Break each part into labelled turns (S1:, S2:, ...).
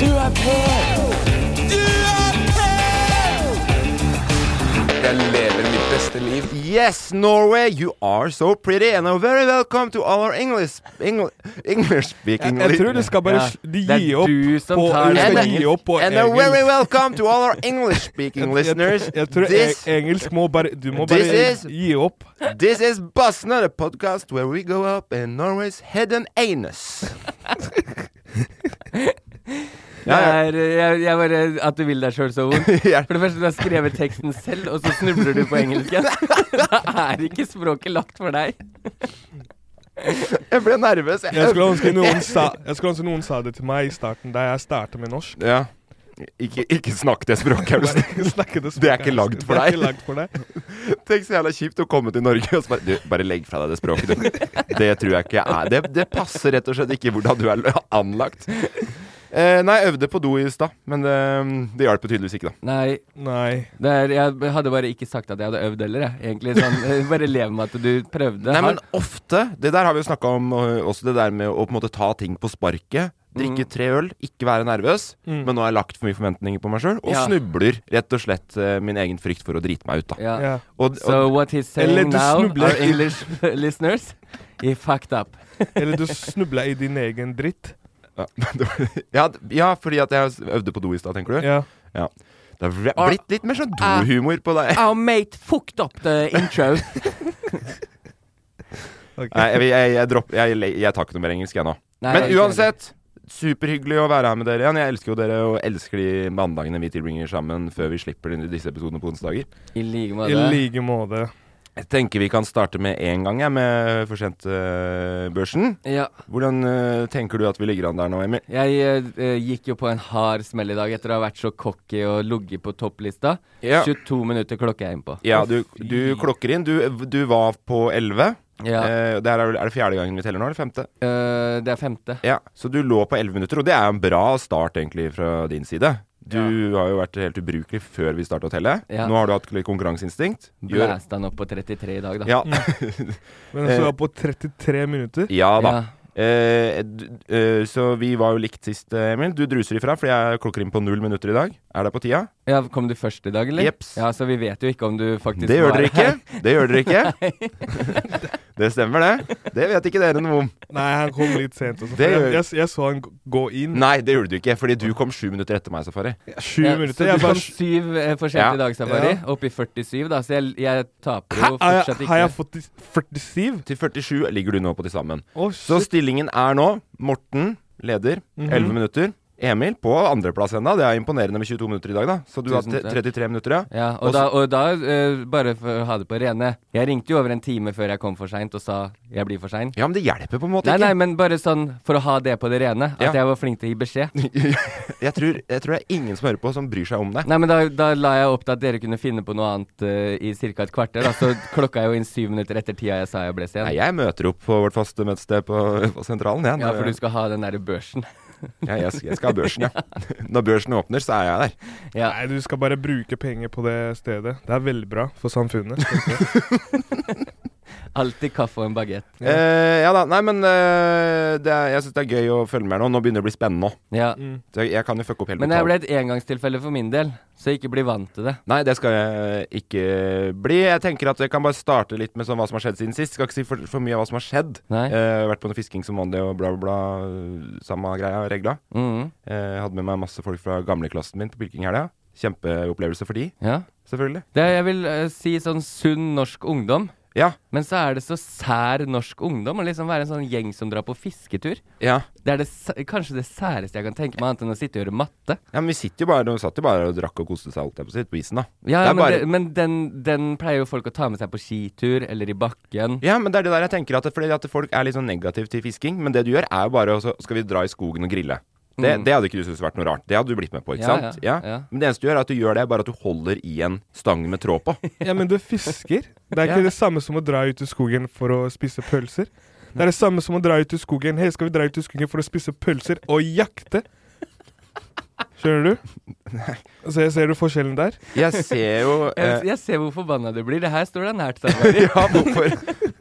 S1: Du er på! Du er på!
S2: Jeg lever mitt beste liv.
S3: Yes, Norway, you are so pretty, and are very welcome to all our English Engl English speaking
S4: Jeg tror du skal bare
S5: Ja.
S4: sl- de
S5: Det er
S4: gi opp
S5: du som
S4: på,
S5: tar
S4: du skal
S3: det.
S4: gi opp på
S3: And are very
S4: engelsk.
S3: welcome to all our English speaking listeners.
S4: Jeg tror
S3: This,
S4: e- engelsk må bare Du må
S3: This
S4: bare
S3: is-
S4: gi opp.
S3: this is Bosna, the podcast where we go up in Norway's head and anus.
S5: Det er, eh, jeg, jeg bare, at du vil deg sjøl så vondt.
S3: Ja.
S5: For det første, du har skrevet teksten selv, og så snubler du på engelsken. Da er ikke språket lagt for deg.
S3: Jeg ble nervøs. jeg.
S4: Jeg skulle ønske noen sa, jeg skulle ønske noen sa det til meg i starten, da jeg starta med norsk.
S3: Ja. Ikke, ikke snakk det språket. er du snill.
S4: Snakke det
S3: Det er ikke
S4: språket.
S3: lagd for
S4: Det er
S3: deg.
S4: ikke lagd for deg.
S3: Tenk så jævla kjipt å komme til Norge og så bare du, Bare legg fra deg det språket, du. Det tror jeg ikke er Det, det passer rett og slett ikke hvordan du er l- anlagt. Eh, nei, jeg øvde på do i stad, men det, det hjalp jo tydeligvis ikke, da.
S5: Nei,
S4: Nei.
S5: det er, jeg hadde bare ikke sagt at jeg hadde øvd heller, jeg. Egentlig sånn, eh, bare lev med at du prøvde.
S3: Nei,
S5: Har-
S3: men ofte Det der har vi jo snakka om eh, også, det der med å på en måte ta ting på sparket. Drikke tre øl, ikke være nervøs. Men nå har jeg lagt for mye forventninger på meg sjøl, og
S5: Ja.
S3: snubler rett og slett eh, min egen frykt for å drite meg ut, da.
S5: ja.
S4: Ja.
S3: Og,
S5: So what he's
S4: Eller
S5: saying
S4: du
S5: now,
S4: snubler
S5: our
S4: i-
S5: English listeners, he fucked up.
S4: Eller du snubla i din egen dritt.
S3: og, ja, d- ja, fordi at jeg øvde på do i stad, tenker du?
S4: Ja.
S3: Ja. Det har vri- blitt litt mer sånn dohumor på deg.
S5: Our mate fucked up the intro.
S4: ok.
S3: Nei, jeg, jeg, jeg, dropper, jeg, le- jeg tar ikke noe mer engelsk, jeg nå.
S5: Nei,
S3: Men
S5: jeg er ikke
S3: uansett, superhyggelig å være her med dere igjen. Jeg elsker jo dere, og elsker de mandagene vi tilbringer sammen før vi slipper inn i disse episodene på onsdager.
S5: I like
S4: I
S5: måte.
S4: like måte.
S3: Jeg tenker vi kan starte med en gang, jeg, med For sent-børsen.
S5: Ja.
S3: Hvordan eh, tenker du at vi ligger an der nå, Emil?
S5: Jeg eh, eh, gikk jo på en hard smell i dag etter å ha vært så cocky og ligget på topplista.
S3: Ja.
S5: 22 minutter klokka jeg inn på.
S3: Ja, du, du klokker inn. Du, du var på 11.
S5: Ja.
S3: Eh, det her er, vel- er det fjerde gangen vi teller nå, eller femte?
S5: Eh, det er femte.
S3: Ja, Så du lå på 11 minutter, og det er en bra start egentlig fra din side. Du har jo vært helt ubrukelig før vi starta å telle.
S5: Ja.
S3: Nå har du hatt litt konkurranseinstinkt. Gjør-
S5: Blæsta han opp på 33 i dag, da.
S3: Ja.
S4: Men
S3: Eh.
S4: så var jeg på 33 minutter.
S3: ja da.
S5: Ja.
S3: Eh, d- eh, så vi var jo likt sist, eh, Emil. Du druser ifra, for jeg klokker inn på null minutter i dag. Er det på tida?
S5: Ja, Kom du først i dag, eller?
S3: Jeps.
S5: Ja, Så vi vet jo ikke om du faktisk
S3: Det gjør
S5: var
S3: dere
S5: her.
S3: ikke. Det gjør dere ikke. det stemmer, det. Det vet ikke dere noe om.
S5: Mm.
S4: Nei, han kom litt sent. Også, for
S3: Det gjør-
S4: jeg, jeg, jeg så han g- gå inn.
S3: Nei, det gjorde du ikke, fordi du kom sju minutter etter meg, Safari.
S4: Sju
S5: Ja,
S4: minutter.
S5: så
S4: Jeg
S5: du
S4: bare
S5: kom syv eh, for sent
S3: Ja.
S5: i dag, Safari.
S4: Ja.
S5: Opp i 47, da. Så jeg, jeg taper
S4: Hæ?
S5: jo
S4: Har jeg,
S5: fortsatt ikke.
S4: har jeg fått de- 47?
S3: Til 47 ligger du nå på til sammen.
S4: Å,
S3: Så
S4: shit.
S5: Mhm.
S3: stillingen er nå Morten leder, 11 minutter. Emil på andreplass ennå. Det er imponerende med 22 minutter i dag, da. Så du har
S5: Tusen takk.
S3: 33 minutter, ja.
S5: Ja, og
S3: Og
S5: da, og da eh, bare for å ha det på rene Jeg ringte jo over en time før jeg kom for seint og sa jeg blir for sein.
S3: Ja, men det hjelper på en måte
S5: Nei, nei,
S3: ikke.
S5: men bare sånn for å ha det på det rene. At
S3: Ja.
S5: jeg var flink til å gi beskjed.
S3: Jeg tror, jeg tror det er ingen som hører på som bryr seg om deg.
S5: Nei, men da, da la jeg opp til at dere kunne finne på noe annet eh, i ca. et kvarter. Da. Så klokka er jo inn syv minutter etter tida jeg sa jeg ble sen.
S3: Nei, jeg møter opp på vårt faste møtested på, på sentralen, jeg.
S5: ja, for du skal ha den derre børsen.
S3: ja, jeg, jeg skal ha børsen, ja. Når børsen åpner, så er jeg der.
S5: Ja.
S4: Nei, du skal bare bruke penger på det stedet. Det er veldig bra for samfunnet.
S5: Alltid kaffe og en bagett.
S3: Ja, ja da. Nei, men eh, det er, jeg syns det er gøy å følge med nå. Nå begynner det å bli spennende nå.
S5: Ja.
S3: Så Jeg, jeg kan jo fucke opp hele
S5: Men det
S3: totalen.
S5: ble et engangstilfelle for min del, så ikke bli vant til det.
S3: Nei, det skal jeg ikke bli. Jeg tenker at jeg kan bare starte litt med sånn hva som har skjedd siden sist. Skal ikke si for, for mye av hva som har skjedd.
S5: Nei.
S3: Eh, vært på noe fisking som vanlig og bla, bla, bla. Samme greia, regla.
S5: Mhm.
S3: Eh, hadde med meg masse folk fra gamleklassen min på pilking i helga. Kjempeopplevelse for de,
S5: Ja.
S3: selvfølgelig.
S5: Det, jeg vil eh, si sånn sunn norsk ungdom.
S3: Ja.
S5: Men så er det så sær norsk ungdom å liksom være en sånn gjeng som drar på fisketur.
S3: ja.
S5: Det er det, sæ- kanskje det særeste jeg kan tenke meg, annet enn å sitte og gjøre matte.
S3: Ja, men vi sitter jo bare, de satt jo bare og drakk og koste seg alt jeg på sitt på isen, da.
S5: Ja,
S3: Det er
S5: men,
S3: bare-
S5: det, men den, den pleier jo folk å ta med seg på skitur eller i bakken.
S3: Ja, men det er det der jeg tenker at, fordi at folk er litt sånn negative til fisking. Men det du gjør, er jo bare å så skal vi dra i skogen og grille. Det, det hadde ikke du syntes vært noe rart. Det hadde du blitt med på, ikke
S5: Mm. Ja,
S3: sant?
S5: ja, ja.
S3: Men det eneste du gjør, er at du gjør det bare at du holder i en stang med tråd på.
S4: Ja, men du fisker. Det er ikke
S3: Ja.
S4: det samme som å dra ut i skogen for å spise pølser. Det er det samme som å dra ut i skogen. Hei, skal vi dra ut i skogen for å spise pølser og jakte? Skjønner du? Så jeg ser du forskjellen der?
S3: Jeg ser jo
S5: Jeg,
S3: eh,
S5: jeg ser hvor forbanna du blir. Det her står deg nært, Safari.
S3: Ja, hvorfor?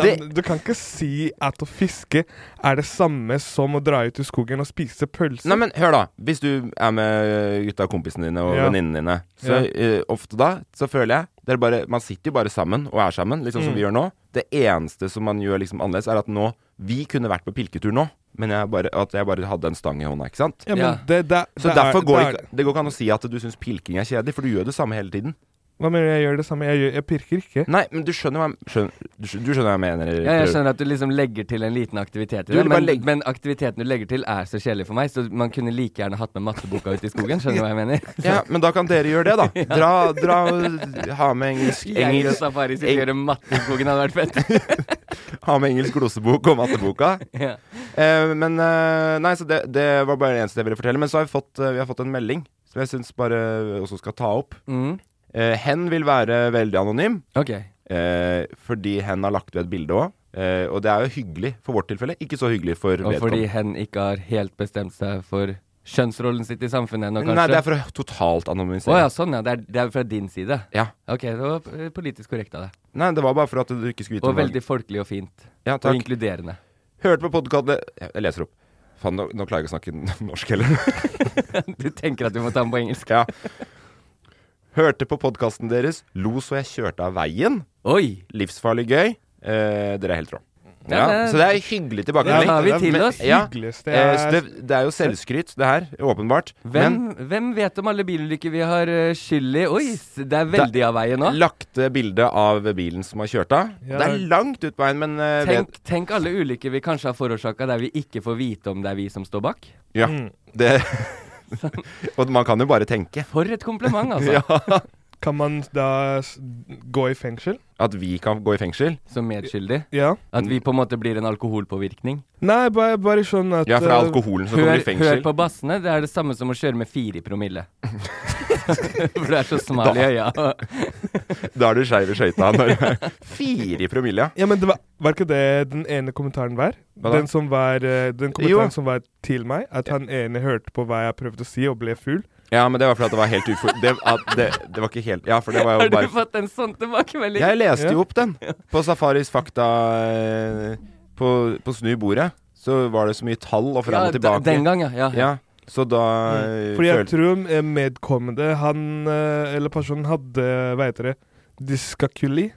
S4: Nei,
S3: Det-
S4: men du kan ikke si at å fiske er det samme som å dra ut i skogen og spise pølser.
S3: Nei, men hør, da. Hvis du er med eh, gutta og kompisene dine og
S4: Ja.
S3: venninnene dine, så
S4: Ja.
S3: eh, ofte da, så føler jeg det er bare, Man sitter jo bare sammen og er sammen, litt sånn som vi gjør nå. Det eneste som man gjør liksom annerledes, er at nå Vi kunne vært på pilketur nå, men jeg bare, at jeg bare hadde en stang i hånda, ikke sant?
S4: ja, men
S5: Ja.
S4: Det, det,
S3: Så
S4: det
S3: derfor
S4: er, det
S3: går det
S4: er-
S3: ikke Det går ikke an å si at du syns pilking er kjedelig, for du gjør det samme hele tiden.
S4: Hva mener du? Jeg gjør det samme. Jeg, gjør, jeg pirker ikke.
S3: Nei, men du skjønner hva jeg skjønner, du skjø- Du skjønner hva jeg mener?
S5: Ja, jeg
S3: Prøv.
S5: skjønner at du liksom legger til en liten aktivitet i
S3: Du
S5: det,
S3: vil bare
S5: men,
S3: legge-
S5: men aktiviteten du legger til, er så kjedelig for meg, så man kunne like gjerne hatt med matteboka ut i skogen. Skjønner du hva jeg mener?
S3: Ja, men da kan dere gjøre det, da. Dra, dra og ha med engelsk,
S5: Jeg og
S3: engelsk,
S5: Safari skulle
S3: eng-
S5: gjøre matte i skogen, hadde vært fett.
S3: ha med engelsk glosebok og matteboka.
S5: Ja.
S3: Eh, men eh, Nei, så det, det var bare det eneste jeg ville fortelle. Men så har vi fått, eh, vi har fått en melding som jeg syns bare vi også skal ta opp.
S5: Mm.
S3: Eh, hen vil være veldig anonym,
S5: Ok.
S3: eh, fordi hen har lagt ved et bilde òg. Eh, og det er jo hyggelig for vårt tilfelle, ikke så hyggelig
S5: Og
S3: for vedkommende.
S5: fordi hen ikke har helt bestemt seg for kjønnsrollen sitt i samfunnet ennå, kanskje?
S3: Nei, det er for å totalt anonymisere.
S5: Å ja, sånn ja. Det er, det er fra din side.
S3: Ja.
S5: Ok, det var eh, politisk korrekt av deg.
S3: Nei, det var bare for at du ikke skulle vite
S5: Og
S3: om
S5: veldig folkelig og fint.
S3: Ja,
S5: Og
S3: takk.
S5: inkluderende.
S3: Hørte på podkastet Jeg leser opp. Faen, nå, nå klarer jeg ikke å snakke norsk heller.
S5: Du tenker at du må ta den på engelsk.
S3: ja. Hørte på podkasten deres, lo så jeg kjørte av veien.
S5: Oi!
S3: Livsfarlig gøy. Eh, dere er helt rå. Ja,
S5: Ja, men-
S3: så det er hyggelig
S5: Ja,
S3: tilbakemelding.
S5: tar vi
S3: Det er-
S5: til
S3: men-
S5: oss.
S3: Ja.
S4: Hyggeligste
S3: Eh, så
S4: er-
S3: det, det er jo selvskryt, det her. Åpenbart.
S5: Hvem,
S3: Men
S5: hvem vet om alle bilulykker vi har eh, skyld i? Oi, s- det er veldig av veien nå.
S3: lagte bilde av bilen som har kjørt av.
S4: Ja.
S3: Det er langt ut på veien, men eh, vet,
S5: Tenk, tenk alle ulykker vi kanskje har forårsaka der vi ikke får vite om det er vi som står bak.
S3: Ja.
S4: Mm.
S3: Det Og man kan jo bare tenke.
S5: For et kompliment, altså.
S4: Kan man da s gå i fengsel?
S3: At vi kan gå i fengsel.
S5: Som medskyldig.
S4: Ja.
S5: At vi på en måte blir en alkoholpåvirkning.
S4: Nei, bare, bare sånn at
S3: Ja, fra
S4: eh,
S3: alkoholen som kommer
S5: Hør,
S3: i fengsel.
S5: hør på bassene, det er det samme som å kjøre med fire i promille. For du er så smal i øya.
S3: Da er du skeiv i skøyta. når du er Fire i promille, ja.
S4: Ja, men det var, var ikke det den ene kommentaren var?
S3: Hva da?
S4: Den, som var, eh, den kommentaren
S3: Jo.
S4: som var til meg? At han ene hørte på hva jeg prøvde å si, og ble full?
S3: Ja, men det var fordi at det var helt ufor... Det, at det, det var ikke helt Ja, for det var jo
S5: Har du
S3: bare
S5: fått en sånn tilbakemelding?
S3: Jeg leste
S4: Ja.
S3: jo opp den på Safaris fakta eh, På, på Snu bordet. Så var det så mye tall og fram
S5: Ja, da-
S3: og tilbake.
S5: den gang, Mm. ja. ja.
S3: Ja, så da eh,
S4: Fordi jeg
S3: følte-
S4: tror eh, medkommende, han eh, eller personen, hadde, hva heter det, dyskakuli?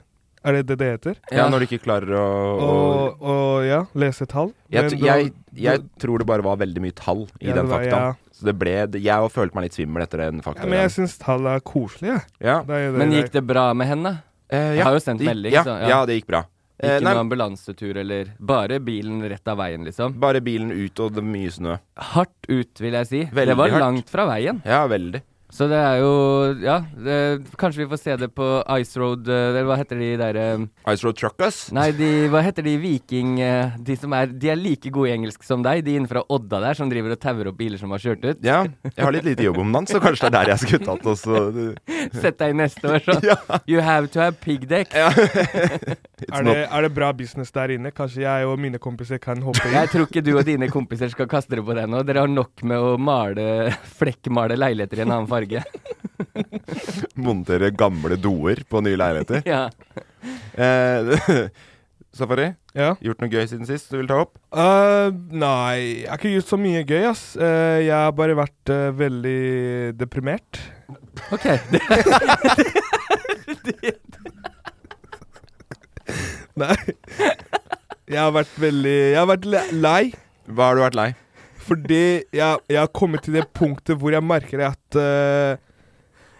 S4: Er det det det heter?
S3: ja, når du ikke klarer å, å
S4: Og, og ja, lese tall.
S3: jeg,
S4: Men
S3: tr-
S4: det var-
S3: jeg, jeg tror det bare var veldig mye tall i
S4: Ja,
S3: den
S4: det var-
S3: faktaen.
S4: ja.
S3: Så det ble det- Jeg følte meg litt svimmel etter den
S4: ja, men jeg
S3: faktaen.
S4: syns tall er koselig, jeg.
S3: Ja.
S4: Det er jo det
S5: Men
S4: jeg-
S5: gikk det bra med henne?
S3: Eh, ja.
S5: Jeg har jo sendt
S3: Det gikk-
S5: melding,
S3: ja,
S5: så,
S3: ja.
S5: ja.
S3: det gikk bra. Eh, Eh,
S5: Ikke
S3: nei.
S5: noe ambulansetur eller Bare bilen rett av veien, liksom.
S3: Bare bilen ut, og det er mye snø.
S5: Hardt ut, vil jeg si.
S3: Veldig
S5: det var
S3: hardt.
S5: langt fra veien.
S3: Ja, veldig.
S5: Så det er jo Ja, det, kanskje vi får se det på Ice Road eh, Eller hva heter de derre
S3: Ice Road Truckers.
S5: Nei, de, hva heter de viking... eh, De som er De er like gode i engelsk som deg, de innenfra Odda der, som driver og tauer opp biler som har kjørt ut.
S3: Ja, jeg har litt lite jobb om dagen, så kanskje det er der jeg skulle tatt også. Det-
S5: Sett deg neste år, sånn. You have to have piggdekk.
S4: Er
S3: not-
S4: det, er det bra business der inne? Kanskje jeg og mine kompiser kan hoppe inn?
S5: Jeg tror ikke du og dine kompiser skal kaste dere på det nå. Dere har nok med å male flekkmale leiligheter i en annen farge.
S3: Montere gamle doer på nye leiligheter.
S5: Ja.
S3: Eh, Safari,
S4: Ja.
S3: gjort noe gøy siden sist du vil ta opp?
S4: Eh, nei, jeg har ikke gjort så mye gøy, ass. Eh, jeg har bare vært eh, veldig deprimert.
S5: OK.
S4: Nei. Jeg har vært veldig Jeg har vært le- lei.
S3: Hva har du vært lei?
S4: Fordi jeg, jeg har kommet til det punktet hvor jeg merker at eh,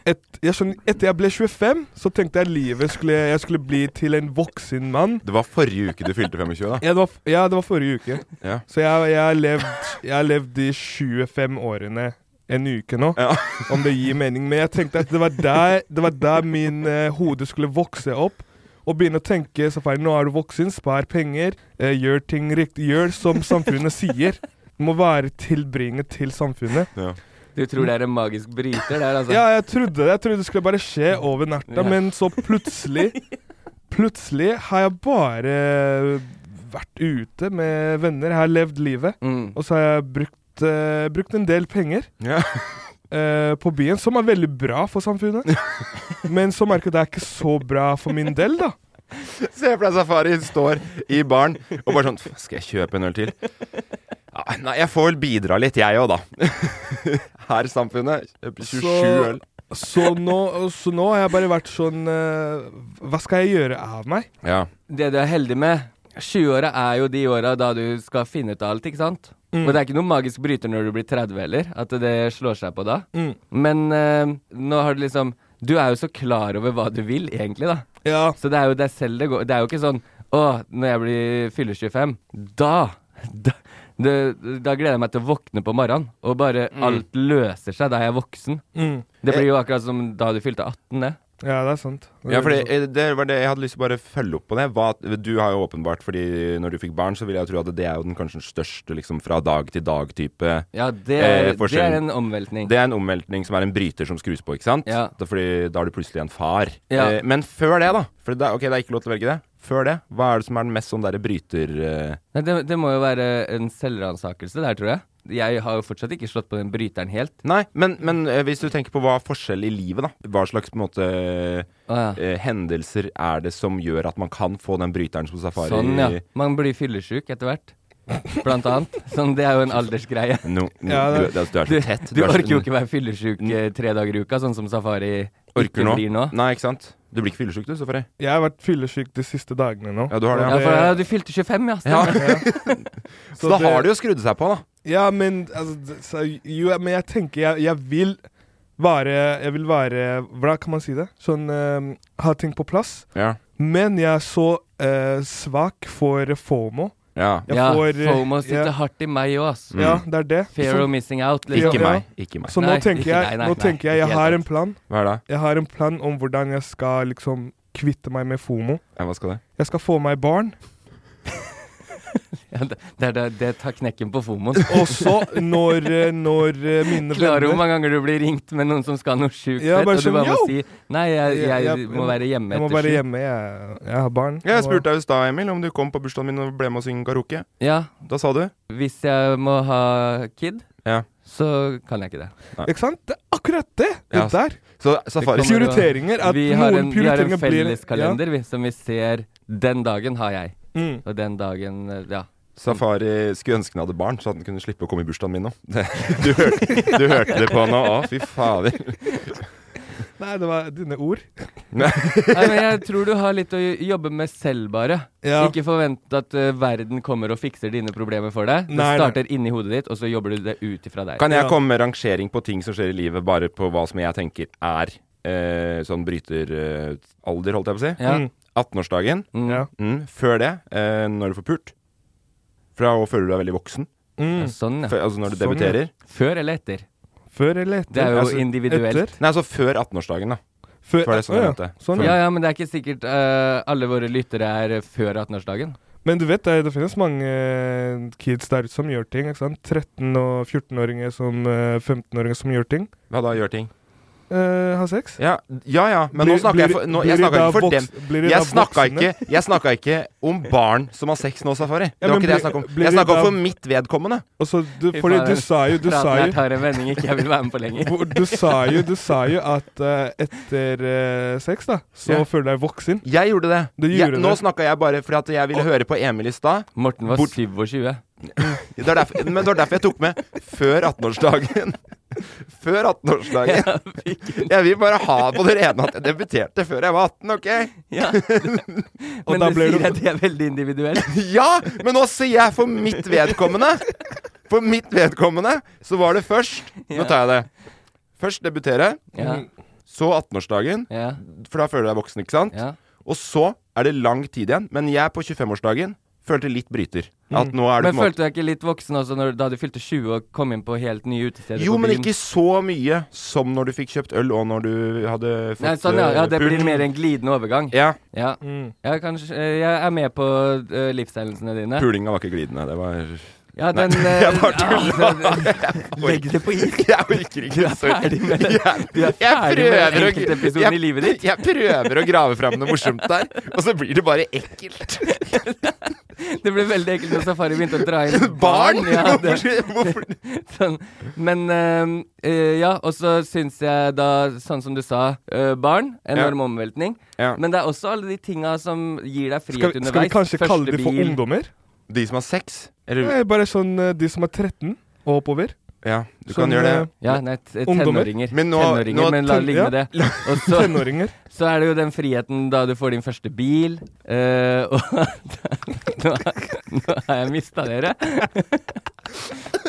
S4: et, jeg skjønner, Etter jeg ble 25, så tenkte jeg livet skulle jeg skulle bli til en voksen mann.
S3: Det var forrige uke du fylte 25, da.
S4: Ja, det var, f- ja, det var forrige uke.
S3: Ja.
S4: Så jeg, jeg, har levd, jeg har levd de 25 årene en uke nå,
S3: Ja.
S4: om det gir mening. Men jeg tenkte at det var der, det var der min eh, hode skulle vokse opp. Og begynne å tenke safari, nå er du voksen, spar penger, eh, gjør ting riktig. Gjør som samfunnet sier. Du må være tilbringet til samfunnet.
S5: Du tror det er en magisk bryter der, altså?
S4: Ja, jeg trodde det. Jeg trodde det skulle bare skje over natta,
S5: Ja.
S4: men så plutselig Plutselig har jeg bare vært ute med venner. Jeg har levd livet.
S5: Mm.
S4: Og så har jeg brukt, eh, brukt en del penger
S3: Ja.
S4: eh, på byen, som er veldig bra for samfunnet. Men så merker jeg at det er ikke så bra for min del, da.
S3: Se for deg Safari står i baren og bare sånn "Faen, Skal jeg kjøpe en øl til? Ja, nei, jeg får vel bidra litt, jeg òg, da. Her, samfunnet. Kjøper 27
S4: Så-
S3: øl.
S4: Så nå, så nå har jeg bare vært sånn eh, Hva skal jeg gjøre av meg?
S3: Ja.
S5: Det du er heldig med 20-åra er jo de åra da du skal finne ut av alt, ikke sant?
S4: Mm.
S5: Og det er ikke noen magisk bryter når du blir 30 heller, at det slår seg på da.
S4: Mm.
S5: Men eh, nå har du liksom Du er jo så klar over hva du vil, egentlig, da.
S4: Ja,
S5: Så det er jo deg selv det går Det er jo ikke sånn Å, når jeg blir fyller 25 Da Da, det, da gleder jeg meg til å våkne på morgenen Og bare alt løser seg da jeg er voksen
S4: mm.
S5: Det blir jo akkurat som da du fylte 18 det
S4: ja det er sant.
S3: ja, fordi eh, det var det jeg hadde lyst til å bare følge opp på det. Hva, du har jo åpenbart, fordi når du fikk barn, så vil jeg tro at det er jo den kanskje den største liksom, fra dag til dag-type
S5: Ja, det er,
S3: Eh,
S5: det er
S3: forskjellen.
S5: en omveltning
S3: Det er en omveltning som er en bryter som skrus på, ikke sant?
S5: Ja.
S3: Da, fordi da er du plutselig en far.
S5: Ja.
S3: Eh, men før det, da. For det, er- ok, det er ikke lov til å velge det. Før det, hva er det som er den mest sånn derre bryter... eh,
S5: Nei, det, det må jo være en selvransakelse der, tror jeg Jeg har jo fortsatt ikke slått på den bryteren helt
S3: Nei, men, men eh, hvis du tenker på hva er forskjell i livet, da. Hva slags på en måte
S5: Å, ja.
S3: eh, hendelser er det som gjør at man kan få den bryteren som safari
S5: Sånn, ja Man blir fyllesyk etter hvert Blant annet Sånn, det er jo en aldersgreie
S3: No, no,
S4: Ja,
S3: du,
S4: det-
S3: det er- du
S5: Du,
S3: er så tett.
S5: du
S3: er så-
S5: orker jo ikke være fyllesyk eh, tre dager i uka, sånn som Safari
S3: orker
S5: ikke
S3: nå.
S5: blir nå.
S3: Nei, ikke sant. Du blir ikke fyllesyk, du, Safari.
S4: Jeg har vært fyllesyk de siste dagene nå.
S3: Ja, du har det.
S5: Ja,
S3: Ja.
S5: for ja, du fylte 25, ja. stemmer.
S3: Så da har det jo skrudd seg på, da.
S4: Ja, men altså, d- så, jo, ja, men jeg tenker jeg, jeg vil være Jeg vil være Hvordan kan man si det? Sånn eh, ha ting på plass.
S3: Ja.
S4: Men jeg er så eh, svak for FOMO.
S3: ja.
S4: Jeg
S5: ja,
S4: får, eh,
S5: FOMO sitter
S4: ja.
S5: hardt i meg òg, ass.
S4: Ja,
S3: Mm.
S4: det er det.
S5: Fear
S4: så
S5: of missing out.
S4: Ja,
S3: Ikke
S5: Liksom.
S4: ja.
S3: meg. Ikke meg.
S4: så nå
S5: Nei,
S4: tenker
S5: ikke-
S4: jeg
S5: nei, nei,
S4: Nå
S5: nei,
S4: tenker jeg,
S5: ikke
S4: jeg
S5: helt
S4: har en
S5: sant.
S4: plan.
S3: Hva er det?
S4: Jeg har en plan om hvordan jeg skal liksom kvitte meg med FOMO.
S3: Ja, hva skal det?
S4: Jeg skal få meg barn.
S5: Ja, det, det, det, det tar knekken på FOMOen.
S4: Og så, når, eh, når eh, mine
S5: Klarer du hvor
S4: venner
S5: mange ganger du blir ringt med noen som skal noe sjukt
S4: Ja,
S5: fett,
S4: bare
S5: og du
S4: sånn,
S5: bare må
S4: «Yo!»
S5: si Nei, jeg,
S4: Ja,
S5: jeg,
S4: jeg-
S5: må være hjemme
S4: Jeg må
S5: etter
S4: være
S5: sju.
S4: hjemme. Jeg, jeg har barn.
S3: Jeg
S4: og-
S3: spurte deg i stad, Emil, om du kom på bursdagen min og ble med å synge karaoke.
S5: Ja,
S3: Da sa du
S5: hvis jeg må ha kid,
S3: Ja.
S5: så kan jeg ikke det.
S4: Ikke sant? Det er akkurat det! Det
S3: Ja.
S4: der.
S3: Så Safari
S5: Det kommer-
S4: Prioriteringer. At
S5: Vi har
S4: noen
S5: en, vi har en
S4: prioriteringer blir
S5: felleskalender vi, som vi ser Den dagen har jeg,
S4: Ja. Mm.
S5: og den dagen eh, Ja.
S3: Safari skulle ønske han hadde barn, så han kunne slippe å komme i bursdagen min nå. Det- Du hørte, du hørte det på nå òg, fy fader.
S4: Nei, det var dine ord.
S5: Nei, men jeg tror du har litt å jobbe med selv, bare.
S4: Ja.
S5: Ikke forvent at eh, verden kommer og fikser dine problemer for deg. Det
S4: Nei, nei.
S5: starter inni hodet ditt, og så jobber du det ut ifra deg.
S3: Kan jeg
S4: Ja.
S3: komme med rangering på ting som skjer i livet, bare på hva som jeg tenker er eh, sånn bryteralder, eh, alder, holdt jeg på å si?
S5: ja.
S4: Mm.
S3: 18-årsdagen.
S5: Mm.
S4: Ja.
S3: Mm. Før det, eh, når du får pult. Fra og før du er veldig voksen.
S5: Ja, Sånn, ja.
S3: Før, altså når du
S4: Sånn, ja.
S3: debuterer.
S5: Før eller etter?
S4: Før eller etter?
S5: Det er jo
S4: Altså,
S5: individuelt.
S4: etter?
S3: Nei, altså før 18-årsdagen, da.
S4: Før,
S3: Før det,
S4: Å,
S3: sånn
S4: ja.
S3: jeg mente.
S5: Ja,
S4: Sånn, ja.
S5: ja, men det er ikke sikkert eh, alle våre lyttere er eh, før 18-årsdagen.
S4: Men du vet, det, det finnes mange eh, kids der ute som gjør ting. ikke sant? 13- og 14-åringer som eh, 15-åringer som gjør ting.
S3: Hva da, gjør ting?
S4: Eh, har sex.
S3: Ja, ja, ja. men nå
S4: Blir-
S3: snakker jeg
S4: blir-
S3: for, nå,
S4: blir
S3: jeg
S4: de
S3: snakker
S4: da
S3: ikke for dem.
S4: voks- blir de da
S3: Jeg snakka
S4: voksne?
S3: ikke, jeg snakka ikke om barn som har sex nå, Safari. Det
S4: Ja,
S3: var
S4: men
S3: ikke det jeg
S4: blir-
S3: snakka om.
S4: blir
S3: Jeg
S4: de
S3: snakka
S4: da-
S3: for mitt vedkommende.
S4: Og så, du, fordi du sa jo Du sa
S5: Praten her
S4: jo,
S5: tar en vending ikke jeg vil være med på lenger.
S4: hvor- du sa jo, du sa jo at eh, etter eh, sex, da, så
S3: Ja.
S4: føler du deg voksen.
S3: Jeg gjorde det.
S4: Du gjorde
S3: jeg, nå
S4: det.
S3: snakka jeg bare fordi at jeg ville høre på Emil i stad.
S5: Morten var
S3: Bort-
S5: 27.
S3: Det er derfor- Men det var derfor jeg tok med før 18-årsdagen. Før 18-årsdagen.
S5: Ja, fikk-
S3: Jeg vil bare ha på det rene at jeg debuterte før jeg var 18, OK?
S5: ja. Men
S4: da
S5: du
S4: ble
S5: sier
S4: du-
S5: at det er veldig individuelt.
S3: Ja! Men nå sier jeg for mitt vedkommende. For mitt vedkommende så var det først Nå tar jeg det. Først debutere,
S5: Ja,
S3: så 18-årsdagen,
S5: ja,
S3: for da føler du deg voksen, ikke sant?
S5: ja.
S3: Og så er det lang tid igjen. Men jeg på 25-årsdagen følte litt bryter. At nå er
S5: Mm. Men
S3: det på en måte
S5: følte du deg ikke litt voksen også når, da du fylte 20 og kom inn på helt nye utesteder?
S3: Jo,
S5: på
S3: men
S5: byen?
S3: ikke så mye som når du fikk kjøpt øl, og når du hadde fått
S5: Nei, sånn, ja, ja, det
S3: eh, pult.
S5: blir mer en glidende overgang.
S3: Ja.
S5: Ja.
S4: Mm.
S5: Jeg, kanskje, eh, jeg er med på uh, livshendelsene dine.
S3: Pulinga var ikke glidende. Det var
S5: Ja,
S3: Nei,
S5: den eh,
S3: jeg bare
S5: ja, den- Legg det på is.
S3: Jeg orker ikke.
S5: er ferdig med den.
S3: Jeg-
S5: Du er
S3: jeg
S5: ferdig med
S3: prøver å-
S5: enkeltepisoden
S3: jeg-
S5: i livet ditt.
S3: Jeg prøver å grave fram noe morsomt der, og så blir det bare ekkelt.
S5: Det ble veldig ekkelt når Safari begynte å dra inn
S3: Barn!
S5: Ja, det,
S3: Hvorfor, hvorfor?
S5: sånn. Men ehm, eh, ja, og så syns jeg da, sånn som du sa, eh, barn. Enorm omveltning.
S3: Ja.
S5: Men det er også alle de tinga som gir deg frihet
S4: Skal, vi-
S5: underveis.
S4: skal vi kanskje
S5: Første
S4: kalle de for
S5: bil.
S4: ungdommer?
S3: De som har sex? Eller
S4: Nei, bare sånn eh, de som er 13 og oppover.
S3: Ja, du
S4: Sånn,
S3: kan gjøre det.
S5: Ja, nei, t- eh,
S4: Ungdommer.
S5: tenåringer.
S3: Men nå-
S5: tenåringer,
S3: nå
S5: men la det
S4: ten-
S5: ligge med
S4: ja.
S5: det. Og så,
S4: Tenåringer.
S5: så er det jo den friheten da du får din første bil, eh, og nå, nå har jeg mista dere.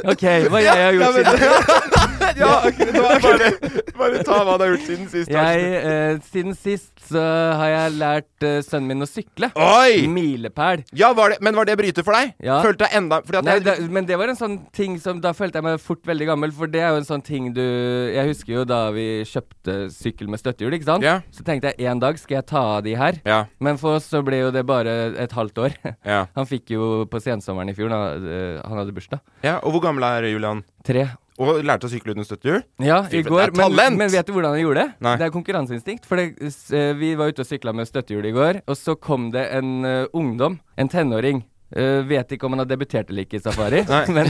S5: OK, hva jeg har gjort siden
S3: Ja, ok, det var bare, bare ta hva du har gjort siden sist.
S5: Jeg, eh, siden sist så har jeg lært eh, sønnen min å sykle.
S3: Oi!
S5: Milepæl.
S3: Ja, var det, men var det bryter for deg?
S5: Ja.
S3: Følte deg enda fordi at
S5: Nei,
S3: jeg-
S5: da, men det var en sånn ting som Da følte jeg meg fort veldig gammel, for det er jo en sånn ting du Jeg husker jo da vi kjøpte sykkel med støttehjul, ikke sant?
S3: Ja.
S5: Så tenkte jeg en dag skal jeg ta av de her.
S3: Ja,
S5: Men for oss så ble jo det bare et halvt år.
S3: ja.
S5: Han fikk jo på sensommeren i fjor, da, eh, han hadde bursdag.
S3: ja. Og hvor gammel er Julian?
S5: Tre.
S3: Og lærte å sykle uten støttehjul?
S5: Ja,
S3: Fy,
S5: i
S3: det
S5: går.
S3: er
S5: Men,
S3: talent!
S5: men vet du hvordan han gjorde det?
S3: Nei.
S5: Det er konkurranseinstinkt. For det, s- eh, vi var ute og sykla med støttehjul i går, og så kom det en eh, ungdom, en tenåring. Eh, vet ikke om han har debutert eller ikke i Safari,
S3: Nei.
S5: men